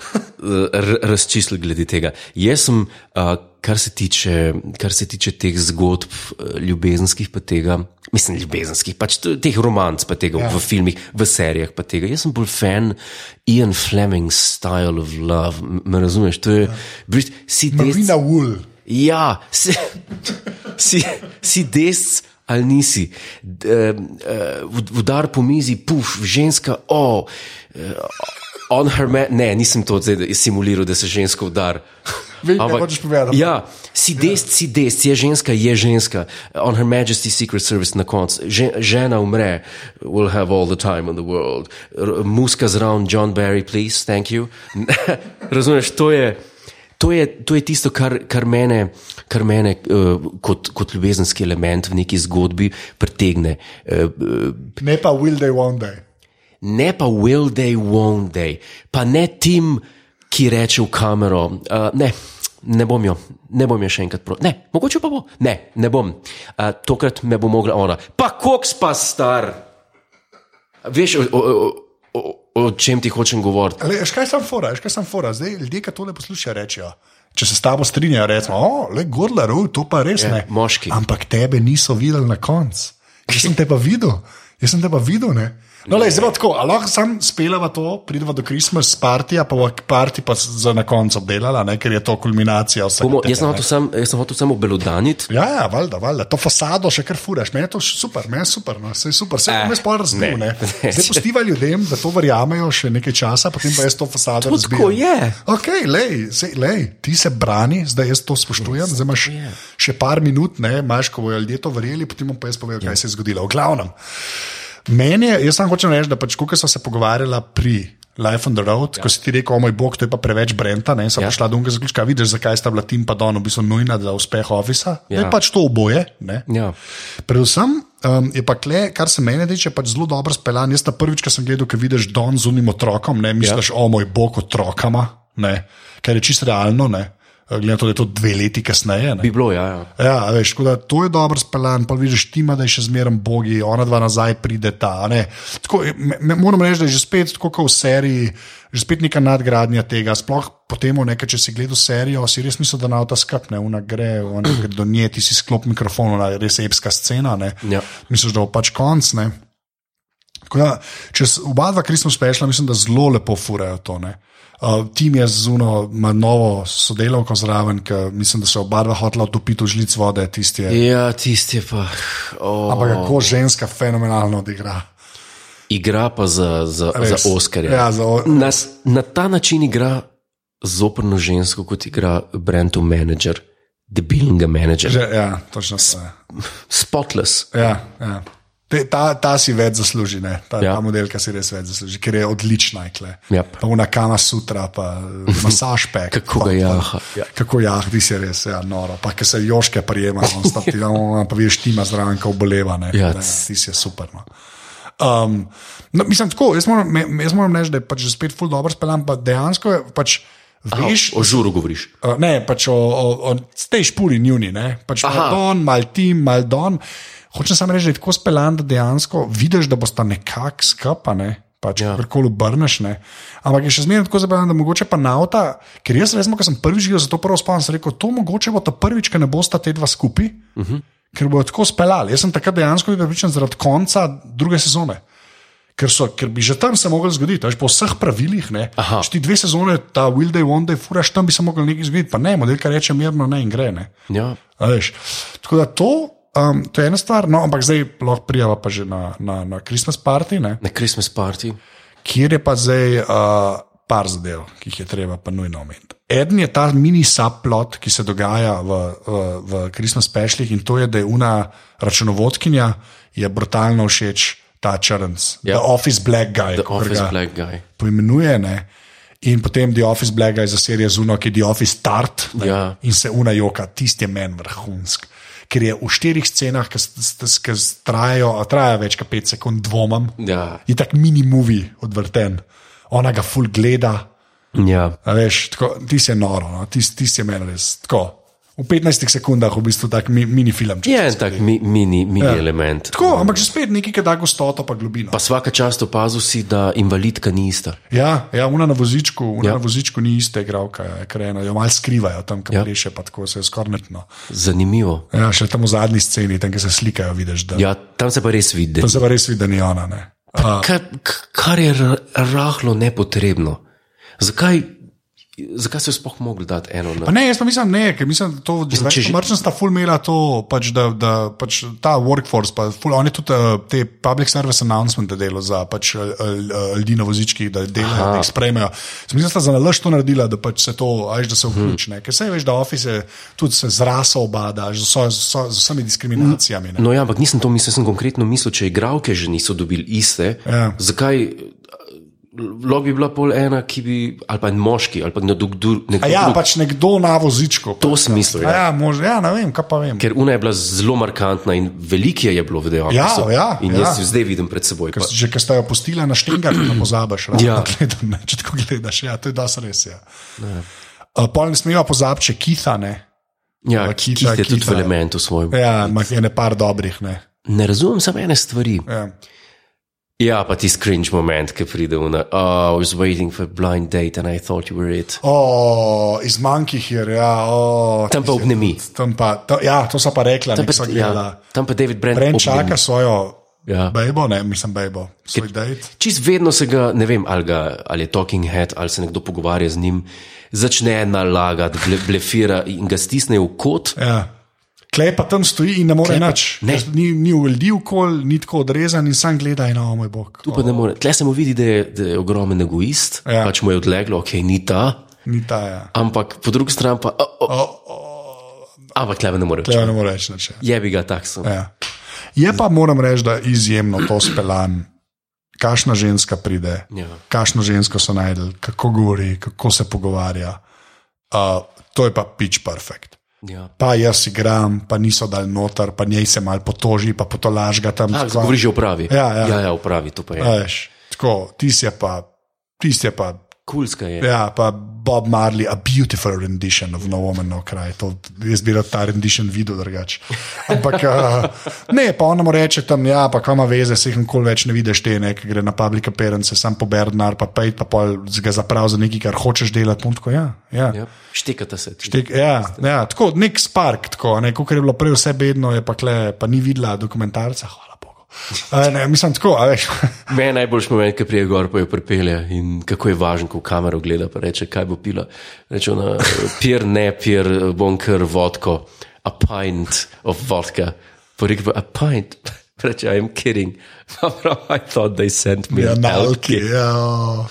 uh, razčistili glede tega. Jaz sem, uh, kar, se tiče, kar se tiče teh zgodb, eh, ljubezenskih, pa tega, mislim, ljubezenskih, pač t- teh romanc, pa tega ja. v filmih, v serijah, pa tega. Jaz sem bolj fan Ian Fleming's style of love, m- me razumeš? To je, ja. si desni.
Marina Wool.
Ja, si, si, si desc ali nisi. D, eh, eh, udar po mizi, puf, ženska, o. Oh, On her man, ne, nisem to zdaj simuliral, da se žensko udar.
Vem, kaj hočeš povedati, ampak-
Ja, si desc, si desc, je ženska, je ženska. On her majesty's secret service na koncu. Že, žena umre, we'll have all the time in the world. R muska zraven, John Barry, please, thank you. Razumeš, to je. To je, to je tisto, kar, kar mene, kar mene uh, kot, kot ljubezenski element v neki zgodbi pritegne. Uh,
Ne pa Will They One Day.
ne pa will they, won't they, pa ne tim, ki reče v kamero, uh, ne, ne bom jo, ne bom jo še enkrat proti. Ne, mogoče pa bo, ne, ne bom. Uh, tokrat me bo mogla ona. Pa koks pa star. Veš, o, o, o, o, o čem ti hočem govoriti?
Le, veš, kaj sem fora, veš, kaj sem fora. Zdaj ljudje, ki tole poslušajo, rečejo. Če se s tabo strinjajo, rečemo, o, le Godler, uj, to pa res ne.
Ja, moški.
Ampak tebe niso videli na koncu. Jaz sem te pa videl, jaz sem te pa videl. Ne? No, le, zelo tako, ali lahko sam spelava to, pridva do Christmas partija, pa bo parti pa s- za na koncu obdelala, ne? ker je to kulminacija vsega.
Bomo,
tega,
jaz sem
ne.
hotel sam- jaz sem hotel samo belodaniti.
Ja, ja, valjda, valjda, to fasado še kar furaš, meni je to š- super, meni je super, no, vse je super, vse
Eh,
je spor razbil.
ne.
Ne. Zdaj postiva ljudem, da to verjamejo še nekaj časa, potem pa jaz to fasado
To
razbijem.
tako je.
Ok, lej, sej, lej, ti se brani, zdaj jaz to spoštujem, zdaj imaš še par minut, ne, imaš, ko bojo ljudje to verjeli, potem bom pa jaz povedal,
Ja.
kaj se je zgodilo. V glavnem, meni je, jaz sam hočem reči, da pač, ko smo se pogovarjali pri Life on the Road, ja. ko si ti rekel, o moj bog, to je pa preveč Brenta, ne, sem ja. prišla do unga zaključka, vidiš, zakaj sta bila Tim pa Don v bistvu nujna za uspeh Office, ja.
Ja.
je pač to oboje. Ne.
Ja.
Predvsem um, je pa kle, kar se mene tiče, pač zelo dobro speljan. Jaz ta prvič, ko sem gledal, ko vidiš Don z unim otrokom, ne misliš, ja. o moj bog, otrokama, ne, ker je čisto realno, ne, glede na to, da je to dve leti kasneje. Ne.
Bi bilo, ja. ja.
Ja, a veš, tako da, to je dobro speljan, pa vidiš tima, da je še zmeraj bogi, ona dva nazaj prideta. a ne. Tako, me, me, moram reči, da je že spet tako kot v seriji, že spet neka nadgradnja tega. Sploh potem, nekaj, če si gledal serijo, si res mislil, da na ta skapne, una gre, ona gre do nje, ti si sklop mikrofon, ona je res epska scena. ne.
Ja.
Misliš, da bo pač konc. Ne? Tako Da, če s- oba dva krismo spešla, mislim, da zelo lepo furajo to. ne. Uh, tim je zuno, ima novo sodelavko zraven, ki mislim, da se oba dva hotla utopiti v žlic vode, tisti je.
Ja, tisti je pa. Oh,
Ampak kako ženska fenomenalno odigra.
igra pa za, za, za
Res.
Oscarja.
Ja, za o-
na, na ta način igra zoprno žensko, kot igra Brentov menedžer, debilnega menedžerja.
Že, ja, točno se.
Spotless.
Ja, ja. Te, ta, ta si več zasluži, ne? ta,
Ja.
ja. ta modelka si res več zasluži, ker je odlična. Ikle.
Yep.
Pa una kama sutra, pa eh, masaž pek.
Kako ga
Pa-
jaha.
Ja. Kako jah, ti si res, ja, noro. Pa ki se joške prijema, on sta ti tam, pa vidiš tima zraven, ko oboleva. Ne,
Ja,
ja, ti si je super. No. Um, no, mislim, tako, jaz moram, me- jaz moram reči, da je pač že spet full dobro speljan, pa dejansko je pač. Veš,
O žuru govoriš.
Uh, Ne, pač o, o, o tej špuri njuni, ne? pač
Aha.
malo don, malo tim, malo don. Hočem samo reči, da je tako speljan, da dejansko vidiš, da bosta nekako skapane. Pač, ja. Karkoli obrneš. Ne. Ampak je še zmeraj tako zabavno, da mogoče pa nauta, ker jaz resmo, ko sem prvič gledal, zato prvo spomnim, sem rekel, to mogoče bo ta prvič, ker ne bosta te dva skupaj, uh -huh. ker bojo tako speljali. Jaz sem takrat dejansko bil pripričan zaradi konca druge sezone. Ker, so, ker bi že tam se lahko zgodilo, veš, po vseh pravilih. ne.
Aha.
Če ti dve sezone, ta Will Day, One Day, furaš, tam bi se lahko nekaj zgodilo, pa ne, model, kar reče mirno, ne in gre. Ne.
Ja.
A veš. Tako da to, um, to je ena stvar, no, ampak zdaj lahko prijava pa že na, na, na Christmas party, ne,
Na Christmas party.
kjer je pa zdaj uh, par zadev, ki jih je treba pa nujno omeniti. Eden je ta mini subplot, ki se dogaja v, v, v Christmas pešljih in to je, da je una računovodkinja je brutalno všeč ta črnc,
Ja.
yeah. The Office Black Guy. kakor
Office
ga-
black guy.
poimenuje. Ne? In potem The Office Black je za serijo Zuno, ki je The Office Tart ne,
Ja.
in se unajoka, tisti je meni vrhunsk. Ker je v štirih scenah, ki s- s- ki s- trajajo, a traja več kot pet sekund, dvomim,
Ja.
je tak mini movie odvrten, ona ga full gleda.
Ja.
a Veš, tako, ti si noro, no? ti, ti si meni res tako. v 15 sekundah v bistvu tak mi, mini film. če
Je en
hočeš.
tak mi, mini, mini ja. element.
Tako, ampak že spet nekaj, ki da gostoto pa globino.
Pa vsaka čast opazil si, da invalidka ni ista.
Ja, ja una na vozičku, una
Ja.
ja. na vozičku ni iste igralka, ja, ker eno jo malo skrivajo tam, kam
Ja.
ja. reše, pa tako se je skornetno.
Zanimivo.
Ja, še tam v zadnji sceni, tam, ki se slikajo, vidiš, da ja.
Ja, tam se pa res vidi.
se pa res vidi, da ni ona. ne. A,
Kar, k- kar je ra- rahlo nepotrebno. Zakaj, zakaj so jo sploh mogli dati eno
Pa
na
ne, jaz pa mislim, ne, ker mislim, da to zdaj
če že-
že marčno sta ful imela to, pač, da, da pač ta workforce, pa ful, oni tudi eh, te public service announcement delo za pač eh, eh, ljudi na vozičkih, da delajo, da jih sprejmejo. Jaz Mislim, da sta za nalaž to naredila, da pač se to, ajš, da se
Mhm.
vključi, ne. ker se veš, da office je tudi se z raso obada, z, vso- z, vso- z vsemi diskriminacijami. Ne.
No, ja, ampak nisem to mislil, sem konkretno mislil, če igravke že niso dobili iste.
Ja.
Zakaj? Log bi bila pol ena, ki bi, ali pa en moški, ali pa nekdo, dru- nekdo
A ja,
drug.
pač nekdo na vozičku.
Mm. To sem mislil.
A
Ja.
ja, mož, ja, ne vem, kaj pa vem.
Ker una je bila zelo markantna in velike je bilo v dejanju.
Ja, ja,
in
ja.
jaz jo zdaj vidim pred seboj. Pa,
Že ki ste jo pustili na štengar, ne pozabiš, ravno
Ja.
ja. gledam, ne, če tako gledaš. Ja, to je dosti res. Ja. Uh, Pol ne smemo pozabiti, če kita ne.
ja,
pa
ki
kita,
je tudi
kita.
v elementu svojem.
Ja, ima je ne par dobrih. Ne.
Ne razumem samo ene stvari.
Ja.
Ja, pa tisti cringe moment, ki pride v na, oh, I was waiting for a blind date and I thought you were it.
Oh, O, iz mankih je, ja, o,
Tam pa
tisti-
obnemi.
Tam pa, to, ja, to so pa rekla,
Tam
da
pa,
so
ja,
gledala.
tam pa David Brent
Ren
obnemi.
čaka svojo
Ja.
bejbo, ne, mislim, bejbo, svoj dejt.
Čist vedno se ga, ne vem, ali, ga, ali je talking head, ali se nekdo pogovarja z njim, začne nalagati, ble, blefira in ga stisne v kot.
Ja. Klej pa tam stoji in ne more
pa-
nič.
ne.
Ni, ni v ljudi okol, ni tako odrezan in sam gleda in o moj bog.
Tu pa ne more. Tle se mu vidi, da je, da je ogromen egoist, ja.
Ja.
pač mu je odleglo, ok, ni ta,
Ni ta, ja.
ampak po drugi strani pa, oh, oh,
O,
ampak tle ne more.
Tega ne moreš reči. nič, ja.
Je bi ga takso.
Ja. Je pa moram reči, da je izjemno to speljan. Kakšna ženska pride,
Ja.
kakšno žensko so najdel, kako govori, kako se pogovarja. Uh, to je pa pitch perfect.
Ja.
Pa jaz igram, pa niso dal noter, pa njej se mal potoži, pa potolaž ga tam.
Ah,
tako,
govori že o pravi.
Ja, ja.
ja, ja o pravi, to pa je.
a veš, Tako, tisti je pa, tisti je pa,
Kulska je.
ja, pa Bob Marley, a beautiful rendition of No Woman No Cry. To, jaz bi rad ta rendition videl drugače. Ampak uh, ne, pa ono mu reče tam, ja, pa kam ima veze, se jih nikoli več ne vidiš, te nekaj gre na public appearance, sam po Bernard, pa pej, pa pol ga zaprav za nekaj, kar hočeš delati. Tako, ja, ja.
Ja. Štekata se. ti.
Tek, ja, ja, tako nek spark, tako ne, kot je bilo prej vse bedno, je pa kle, pa ni videla dokumentarca, hvala Bogu. Uh, ne, mislim tako, a veš.
Meni je najboljši moment, ki prije gor, pa jo pripelje in kako je važno, ko v kamero gleda, pa reče, kaj bo pila. Reče ona, pir ne, pir bom kar vodko, a pint of vodka. Pa reče, a pint. Pa Reče, I'm kidding. Pa prav, I thought they sent me
Ja,
an
nalki.
alki.
Ja.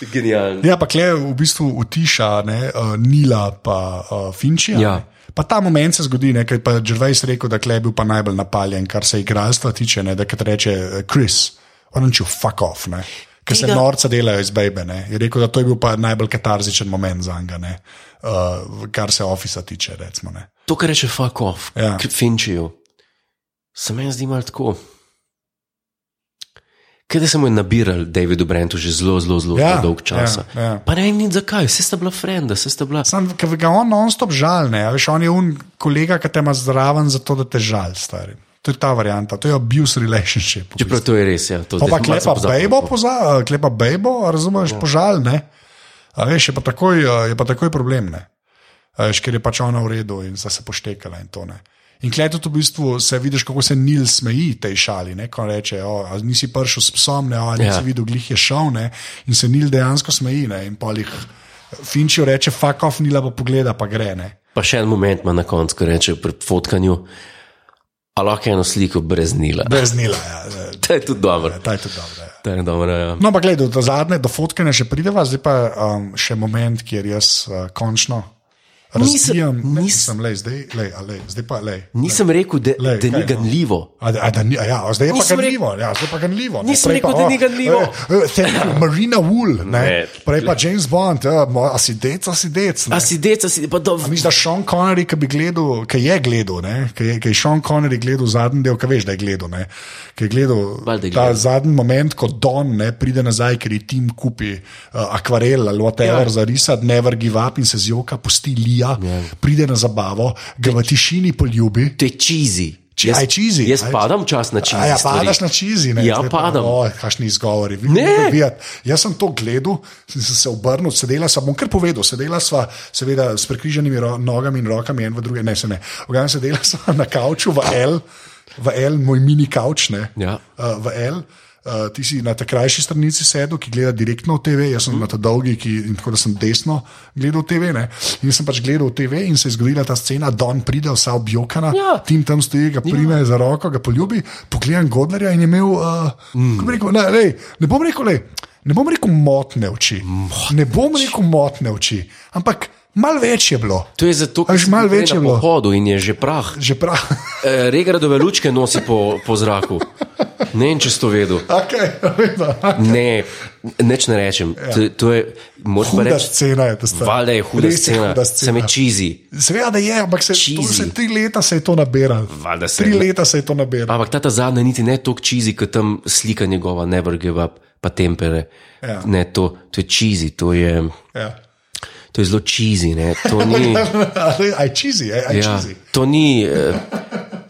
Genialno.
Ja, pa kle v bistvu utiša ne, uh, Nila pa uh, Finčija.
Ja.
ne. Pa ta moment se zgodi, ne, ker je Džervejs rekel, da kle je bil pa najbolj napaljen, kar se igralstva tiče, ne, da kad reče eh, Chris, on ču fuck off. Ne. Ker se
Tega-
norca delajo iz Bejbe. ne. Je rekel, da to je bil pa najbolj katarzičen moment za njega, ne, uh, kar se ofisa tiče. Recimo, ne.
To, kar reče fuck off, ja.
Ja.
finčijo, se meni zdi malo tako. Kaj da se mu je nabiral Davidu Brentu že zelo, zelo, zelo
Ja,
ja, dolg časa.
ja, ja.
Pa ne vem nič zakaj, vse sta bila frenda, vse sta bila.
Sam, ker ga on non-stop žalne, veš, on je un kolega, ki te ima zraven, zato da te žal, stari. To je ta varianta, to je abuse relationship. v
Čeprav to je res, ja. To,
Pa,
zdaj
pa
sem malce
klepa
pozabil.
bejbo, poza, eh, klepa bejbo, razumeš, no. ja. požal. Ne? A veš, je pa takoj, eh, je pa takoj problem. Ne? A Veš, ker je pač ona v redu in sta se poštekala in to ne. In klej tudi v bistvu se vidiš, kako se Nil smeji tej šali. Ne? Ko reče, o, a nisi prišel s psom, ne, o, a nisi
Ja.
ja. videl, glih je šel. Ne? In se Nil dejansko smeji. Ne? In polih Finčijo reče, fuck off, Nila pa pogleda, pa gre. Ne?
Pa še en moment ima na koncu, ko reče pri fotkanju, a lahko eno sliko brez nila.
Brez Nila. Ja. eh,
To je tudi dobro.
Ta je tudi dobro. Ja.
To je dobro, ja.
No, pa gledaj, do zadnje, do fotkanja še prideva, zdaj pa um, še moment, kjer jaz uh, končno
Nisem-
razvijam.
nisem-
Ne, Nisem, lej, zdaj, lej, a lej, zdaj pa lej.
Nisem rekel, da,
Lej,
da ni
kaj, no?
ganljivo.
A, da- a, da, ni, a ja, a zdaj je pa
Nisem rekel-
ganljivo. Ja, zdaj pa ganljivo ne.
Nisem
Prej pa,
rekel, da
o,
ni ganljivo.
eh, eh, thank you, Marina Wool, ne.
Ne.
prej pa James Bond, eh, mo- a si dec, a si dec. ne.
A si deca, si pa dobro.
Mislim, da Sean Connery, ki bi gledal, ki je gledal, ne, ki je, ki je Sean Connery gledal zadnji del, ki veš, da je gledal, ne, ki je gledal
Valjda je
ta
gledal.
zadnji moment, ko Don ne, pride nazaj, ker ji tim kupi uh, akvarel ali
Ja.
whatever ja. za risati, never give up in se z joka pusti lija. ubija,
Ja.
pride na zabavo, ga v tišini poljubi.
To je čizi.
Če- a je cheesy,
Jaz
a je-
padam čas na čizi.
A ja, padaš na čizi, ne?
Ja,
Zdaj pa,
padam.
Oj, kakšni izgovori. Vi
Ne.
morate vedeti. Jaz sem to gledal, sem se obrnil, sedela sem, bom kar povedal, sedela sva seveda s prekriženimi ro, nogami in rokami, en v druge, ne se ne. Ogan sedela sva na kavču v L, v L, moj mini kavč, ne?
Ja.
Uh, v L. Uh, ti si na tej krajši stranici sedel, ki gleda direktno v TV, jaz sem
Mhm.
mm. na tej dolgi, ki, in tako da sem desno gledal TV. Ne? In sem pač gledal TV in se je zgodila ta scena, Don pride, vsa objokana,
Ja.
Tim tam stoji, ga prime ja. za roko, ga poljubi, pogledam Godlerja in je imel, uh, mm. rekel, ne, lej, ne bom rekel, lej, ne bom rekel motne oči, motne. ne bom rekel motne oči, ampak malo več je bilo,
To je zato, ker
Až
sem
malo
prej
več je
na
bilo.
pohodu in je že prah.
že prav.
E, Regradove lučke nosi po, po zraku. Ne vem, če si to vedel.
okay,
Ne, neč ne rečem. To, to je, moraš pa
Ja. Huda
reči,
scena je ta stvar.
Valjda je huda
Res je
scena,
huda
sem je
scena.
čizi.
Seveda da je, ampak se, to,
Cheesy.
se tri leta se je to nabiralo.
Valjda se-
Tri leta se je to nabiralo.
Ampak ta, ta zadnja niti ne toliko čizi, kot tam slika njegova, never give up, pa tempere.
Ja.
Ne, to, to je čizi, to je,
Ja.
to je zelo čizi. Ne, to ni,
Ali- Aj čizi, aj, aj ja.
Mm. ja,
čizi.
to ni uh,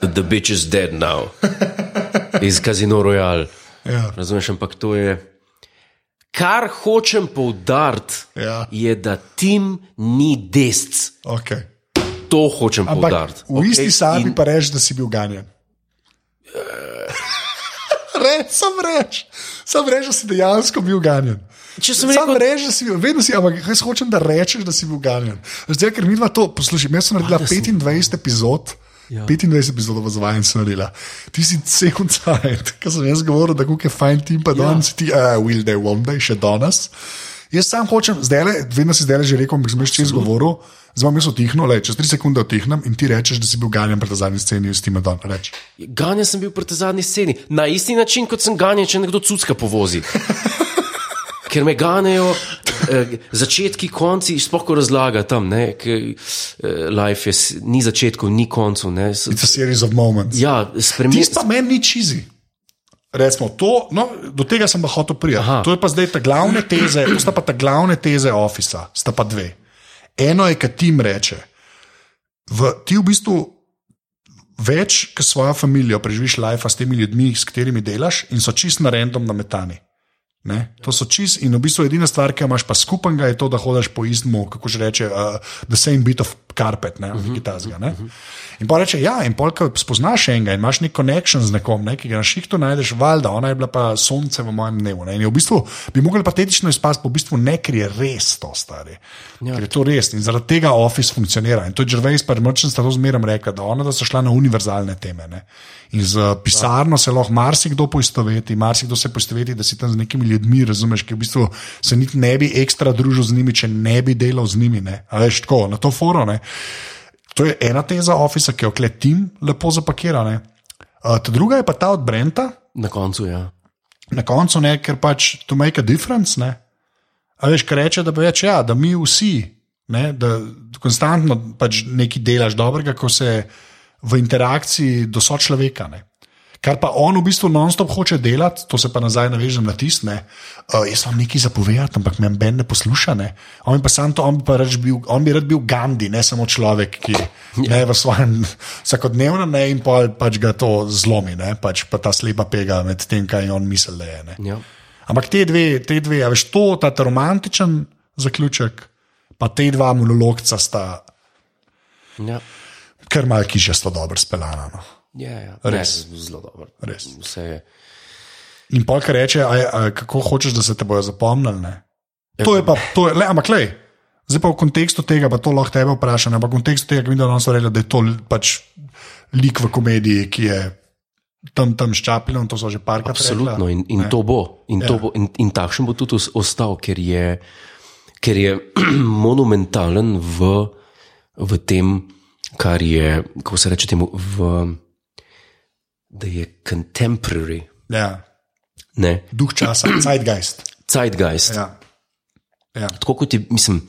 The bitch is dead now iz Casino Royale.
Ja.
Razumeš, ampak to je. Kar hočem poudariti,
Ja.
je, da tim ni desc.
Okay.
To hočem
Ampak
poudariti.
v okay. isti
Okej?
sabi
In-
pa reči, da si bil ganjen. Reč, sam reč, sam reč, da si dejansko bil ganjen.
Če sem
Sam
rekel,
reč, da si bil, vedno si, ampak jaz hočem, da rečeš, da si bil ganjen. Zdaj, ker mi dva to, poslušaj, jaz sem naredila 25 epizod. Ja. 25 epizod vazvajen sem naredila. Ti si cel cajt, ker sem jaz govoril, da kako je fajn tim, pa ja. danes ti, uh, will they, won't they, še danes. Jaz sam hočem, zdaj le, vedno si zdaj le že rekel, ampak sem še izgovoril, zdaj bom jaz otihnil, le, čez 3 sekunde otihnem in ti rečeš, da si bil ganjen pred zadnjim scenijo s tim, da reč.
Ganjen sem bil proti zadnji sceni, na isti način, kot sem ganjen, če nekdo cucka povozi. Ker me ganejo eh, začetki, konci, sploh ko razlaga tam, ne, ke, eh, life je, s- ni začetkov, ni koncev. ne, s-
It's a series of moments.
Ja, spremeni,
Tisto pa meni ni čizi. Recimo, to, no, do tega sem pa hotel priti.
Aha.
To je pa zdaj ta glavne teze, to sta pa ta glavne teze Office, sta pa dve. Eno je, kar tim reče. V, ti v bistvu več, kot svojo družino, preživiš life s temi ljudmi, s katerimi delaš, in so čist na random nametani. Ne? To so čist in v bistvu edina stvar, ki jo imaš pa skupnega, je to, da hodiš po istmu, kako že reče, uh, the same bit of carpet, ne, nekaj tazga. Ne? In pa reče, ja, in pol, ko spoznaš enega in imaš nek konekšen z nekom, ne, ki ga na šihtu najdeš, valjda, ona je bila pa sonce v mojem dnevu. Ne? In je v bistvu bi mogli patetično izpasti, pa v bistvu ne, ker je res to no, stari. Ja. Ker je to res in zaradi tega Office funkcionira. In to je Gervais pa Merchant sta to zmeraj rekla, da ona da so šla na univerzalne teme. Ne? In z eh, pisarno se lahko marsikdo poistoveti, marsikdo se poistoveti, da si tam z nekimi ljudmi, razumeš, ki v bistvu se niti ne bi ekstra družil z njimi, če ne bi delal z njimi. Ne? A veš tako, na to foro. Ne? To je ena teza Office, ki jo kletim lepo zapakirane. Uh, druga je pa ta od Brenta,
na koncu, ja.
na koncu ne, ker pač to make a difference. Ne. A veš, kar reče, da bo več, ja, da mi vsi, ne, da konstantno pač nekaj delaš dobrega, ko se v interakciji do sočloveka. Ne. Kar pa on v bistvu non-stop hoče delati, to se pa nazaj navežem na tiste. Uh, jaz vam nekaj zapovedam, ampak me ben ne posluša. Ne. On bi pa sam to, on bi, pa rad bil, on bi rad bil Gandhi, ne samo človek, ki je v svojem vsakodnevnem ne, in pa, pač ga to zlomi, ne, pač pa ta slepa pega med tem, kaj on misli, da je. Ne.
ja.
Ampak te dve, te dve, a veš, to, ta, ta romantičen zaključek, pa te dva monologca sta
ja.
kar malo kižasto dobro speljana. No.
Ja, ja.
Res.
Ne, zelo dobro.
Res.
Vse je.
In pa kar reče, a, je- a, kako hočeš, da se te bojo zapomnili. Ne? To je pa, to je, le, ampak le. Zdaj pa v kontekstu tega, pa to lahko tebe vprašam, ampak v kontekstu tega, ki mi da danes reče, da je to l- pač lik v komediji, ki je tam, tam s Čaplinom, to so že parkrat.
Absolutno,
rekla.
in, in to bo. In,
Ja.
to bo in, in takšen bo tudi os- ostal, ker je, ker je monumentalen v, v tem, kar je, kako se reče temu, v, da je contemporary,
Ja,
ne,
duh časa, zeitgeist.
zeitgeist. Ja.
Ja. Ja.
Tako kot je, mislim,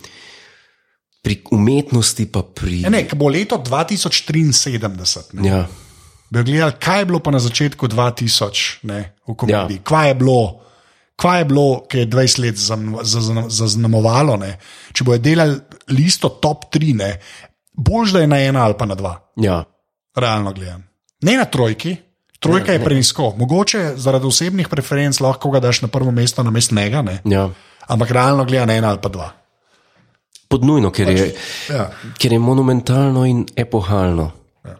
pri umetnosti, pa pri.
Ja, Ne, ko bo leto 2073. Ne,
Ja,
bi gledali, kaj je bilo pa na začetku 2000 ne, v komediji,
Ja.
ja. kaj je bilo. Kaj je bilo, ki je 20 let zazn- zazn- zaznamovalo? Ne? Če bojo delali listo top 3, ne, bolj da je na ena ali pa na dva,
Ja,
realno gledam. Ne na trojki, trojka
Ja, ne.
je prenisko, mogoče zaradi osebnih preferenc lahko ga daš na prvo mesto, na mest mega, ne.
ja.
ampak realno gledam ena ali pa dva.
Podnujno, ker je,
Ja.
ker je monumentalno in epohalno.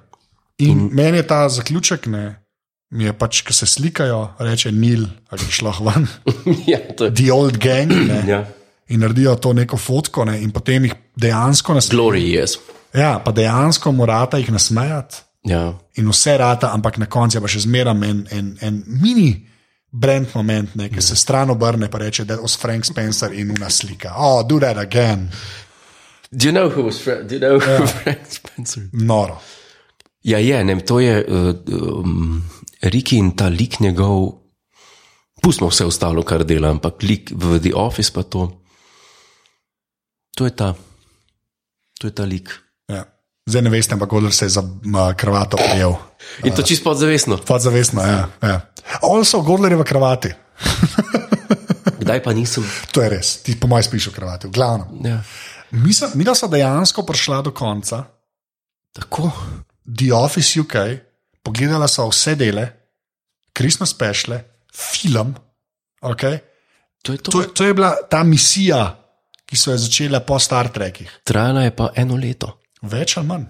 In mm. meni je ta zaključek, ne, mi je pač, ki se slikajo, reče Nil, ali greš lahko ven,
ja, to je.
the old gang. Ne,
Ja.
In naredijo to neko fotko, ne, in potem jih dejansko nasmejajo.
Glory jaz. Yes.
Ja, pa dejansko morata jih nasmejati
Ja.
in vse rata, ampak na koncu je pa še zmeraj en, en, en mini. Brand moment, ne, ki se stran obrne in reče, da je Frank Spencer in una slika. Oh, do that again.
Do you know who was Fra do you know who Frank Spencer?
Noro.
Ja, je, ne, vem, to je uh, um, Riki in ta lik njegov. Pustimo vse ostalo, kar dela, ampak lik v The Office pa to. To je ta, to je ta lik.
Ja. Zdaj ne veste, ampak Godler se je za ma, kravato prijel.
In to čisto podzavestno.
Podzavestno, ja. ja. Also, Godler je v kravati.
Kdaj pa nisem?
To je res, ti po mojem spiš v kravati, v glavnem.
Ja.
Mi, sem, mi da so dejansko prišla do konca,
Tako.
The Office UK, pogledala so vse dele, krisno spešle, film. Okay?
To je to.
To, to je bila ta misija, ki so jo začela po Star Trekih.
Trajala je pa eno leto.
Več ali manj,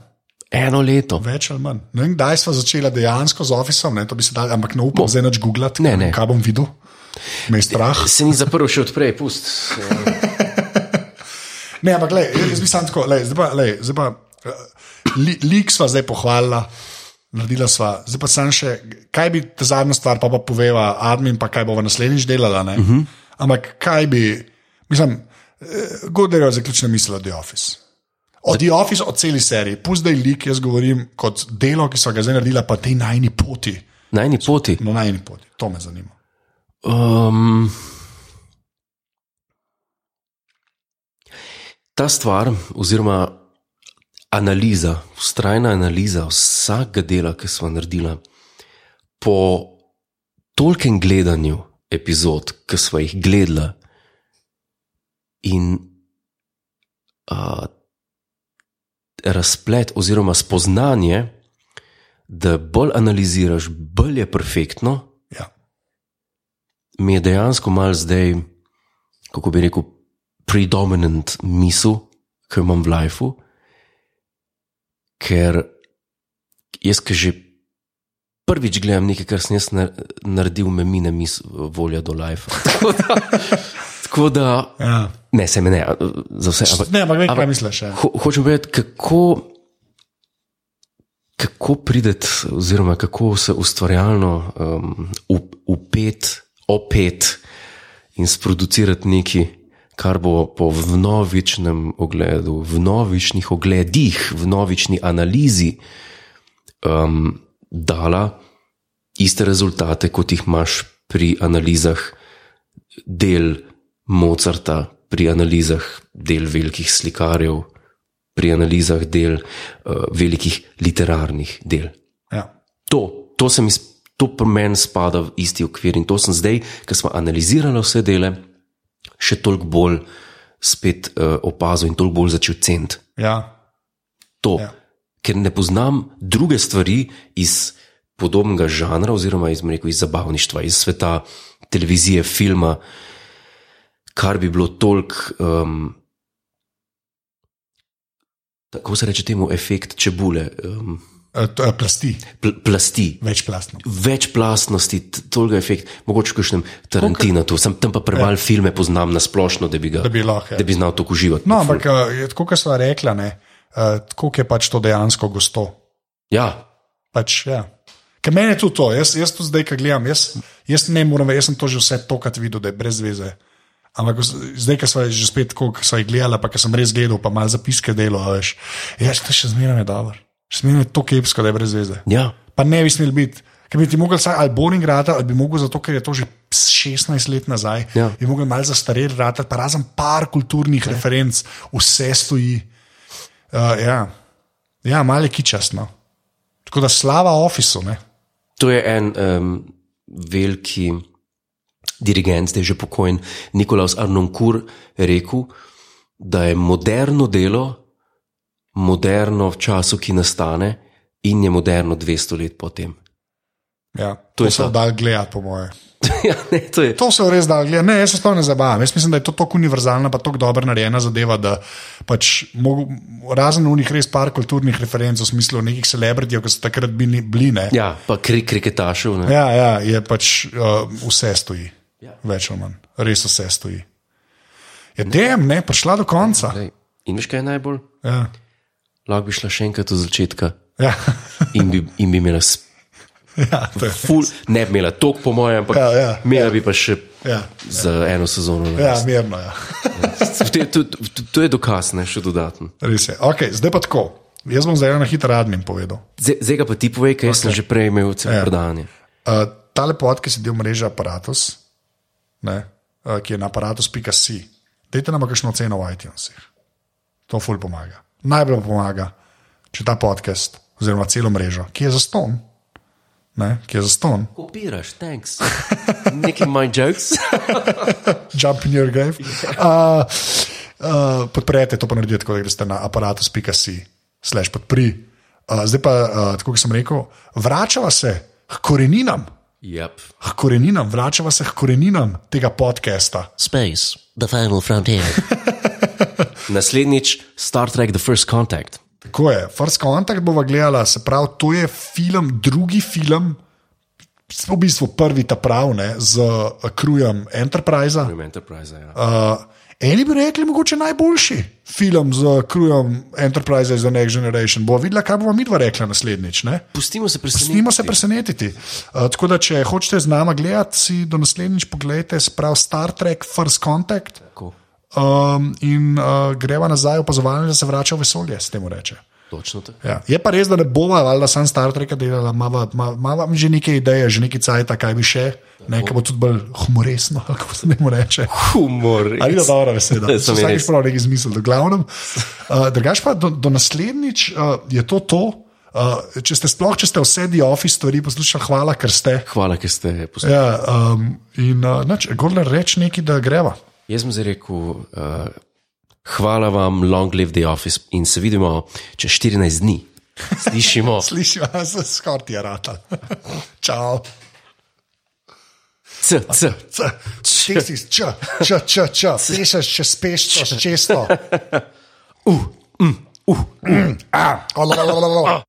Eno leto.
več ali manj. Ne vem, kdaj smo začela dejansko z Officeom, ne, to bi se dal, ampak ne upam zdaj več googlati,
Ne, ne.
kaj bom videl. Me je strah.
Se ni zaprl še odprej, pust. Ja.
Ne, ampak lej, jaz bi sam tako, lej, zdaj pa, lej, zdaj pa eh, li, lik sva zdaj pohvalila, naredila sva, zdaj pa sam še, kaj bi ta zadnja stvar, pa pa poveva admin, pa kaj bova naslednjič delala. Uh -huh. Ampak kaj bi, mislim, eh, Godler je zaključna misel od The Office. Od The Office, od celi serije, pusti zdaj lik, jaz govorim kot delo, ki so ga zdaj naredila, pa tej najni poti,
Najni poti.
no najni poti, to me zanima.
Um, ta stvar, oziroma analiza, ustrajna analiza vsakega dela, ki smo naredili, po tolkem gledanju epizod, ki smo jih gledali, in uh, razplet, oziroma spoznanje, da bolj analiziraš, bolj je perfektno
Ja.
mi je dejansko mal zdaj, kako bi rekel, predominant misel, ki jo imam v lifeu, ker jaz, ki že prvič gledam nekaj, kar sem jaz nar- naredil, me mine mis, volja do lifea. Tako da, tako da
Ja.
ne, se me ne, za vse. Ampak,
Ne, ampak vem, kaj
ampak-
misliš. Ja.
Ho, hočem povedati, kako, kako prideti, oziroma kako se ustvarjalno um, up- upet, opet in sproducirati nekaj, kar bo po vnovičnem ogledu, vnovičnih ogledih, vnovični analizi um, dala iste rezultate, kot jih imaš pri analizah del Mozarta, pri analizah del velikih slikarjev, pri analizah del uh, velikih literarnih del.
Ja.
To, to, se mi s- to pri meni spada v isti okvir in to sem zdaj, ker smo analizirali vse dele, še toliko bolj spet uh, opazil in toliko bolj začel ceniti
Ja.
to, ja.
Ja.
ker ne poznam druge stvari iz podobnega žanra, oziroma iz, bom rekel, iz zabavništva, iz sveta televizije, filma, kar bi bilo toliko. Um, Kako se reče temu efekt čebule, um,
Eh, to je Plasti,
pl plasti,
večplastno.
večplastnosti, t- toliko efekt, mogoče v kakšnem Tarantinu, tu sem tam pa premalo filme poznam na splošno, da bi ga,
Ja. Da bi lahko.
da bi znal to uživati.
No, ampak eh, je tako, kot sva rekla, ne, eh, tako je pač to dejansko gosto.
Ja,
Pač, ja. Ker meni je tudi to, jaz, jaz to zdaj, ki gledam, jaz, jaz ne moram, jaz sem to že vse tokrat videl, da je brez veze. Ampak vs- zdaj, ki smo že spet, ko smo jih gledali, pa ki sem res gledal, pa malo zapiske delo, a veš, jaz to še zmeraj je dobro. Še zmeraj je to kepsko, da je brez veze.
ja,
Pa ne bi smel biti. Ker bi ti mogel vsaj ali boring rata, ali bi mogel zato, ker je to že 16 let nazaj,
Ja.
bi mogel malce zastarel rata, pa razen par kulturnih ne. referenc, vse stoji. Uh, ja. ja, malo je kičasno. Tako da slava ofisu, ne.
To je en um, veliki dirigent, zdaj že pokojen, Nikolaus Arnonkur, rekel, da je moderno delo moderno v času, ki nastane, in je moderno 200 let potem.
Ja,
To
to,
je
to se
ta-
da gledati, po moje.
ja, ne, to je.
To se je res da gledati. Ne, jaz se sploh ne zabavam. Jaz mislim, da je to tako univerzalna, pa tako dobro narejena zadeva, da pač mogo, razen unih res par kulturnih referenc v smislu nekih celebritijev, ki so takrat bili bline.
Ja, pa kri, kriketašev. ne.
Ja, ja, je pač uh, vse stoji,
Ja.
ja. več ali manj, res vse stoji. Je dem, ne, prišla do konca.
Glej, In veš, kaj je najbolj?
Ja.
Lahko bi šla še enkrat od začetka
Ja.
in bi, in bi imela s-
ja, to je.
ful, ne bi imela tok, po mojem, ampak
Ja, ja,
imela bi pa še
Ja,
za eno sezono.
ja mirno je. Ja.
To, to, to, to je dokaz, ne še dodaten.
Res je. Okay, zdaj pa tako. Jaz bom zdaj na hitro admin povedal.
Zdaj zdaj ga pa ti povej, kaj okay. sem že prej imel celo ja.
Ja.
predanje.
Uh, ta lepot, ki se del mreže aparatus, ne, uh, ki je na aparatus.si, dajte nam kakšno ceno v iTunesih. To ful pomaga. Najbolj pomaga, če ta podcast, oziroma celo mrežo, ki je zaston, ne, ki je zaston,
Kopiraš, thanks. Neki my jokes.
jump in your grave. Uh, uh, podprete to, pa naredite tako, da greste na aparatus.si, slash podpri. Uh, zdaj pa, uh, tako kot sem rekel, vračava se k koreninam,
Yep.
k koreninam, vračava se k koreninam tega podcasta.
Space, the final frontier. Naslednjič, Star Trek, The First Contact.
Tako je, First Contact bova gledala, se pravi, to je film, drugi film, v bistvu prvi ta pravne z eh, krujem Enterprise.
Film Enterprise, ja.
Uh, eni bi rekli, mogoče najboljši film z krujem Enterprise za Next Generation. Bo videla, kaj bomo mi dva rekla naslednjič. Ne?
Pustimo se presenetiti.
Snimo se presenetiti. Uh, tako da, če hočete z nama gledati, si do naslednjič pogledajte, sprav Star Trek First Contact
Tako,
um, in uh, greva nazaj opazovanje, da se vrača v vesolje, s tem reče.
točno tako.
Ja. Je pa res, da ne bova, ali da sem Star Trek delala, imamo že neke ideje, že nekaj cajt, kaj bi še, nekaj bo tudi bolj humoresno, kako se ne mu reče.
Humor.
Ali je dobra beseda?
Sem
Sem
res.
vsakič prav nekaj izmislil, v glavnem. Uh, drugač pa do, do naslednjič uh, je to to. Uh, če ste sploh, če ste vse di office stvari poslušali, hvala, ker ste.
Hvala, ker ste poslušali.
Ja, um, in uh, Gordon reče nekaj, da greva.
Jaz sem zdaj rekel, uh, hvala vam, long live the office in se vidimo čez 14 dni. Slišimo.
Slišiva se skorti je rata. Čau.
C, c.
C, Teksi, č, č, č, č, pešaš, če speš, čez često. U, m, u, m, a, o, la, la, la, la, la.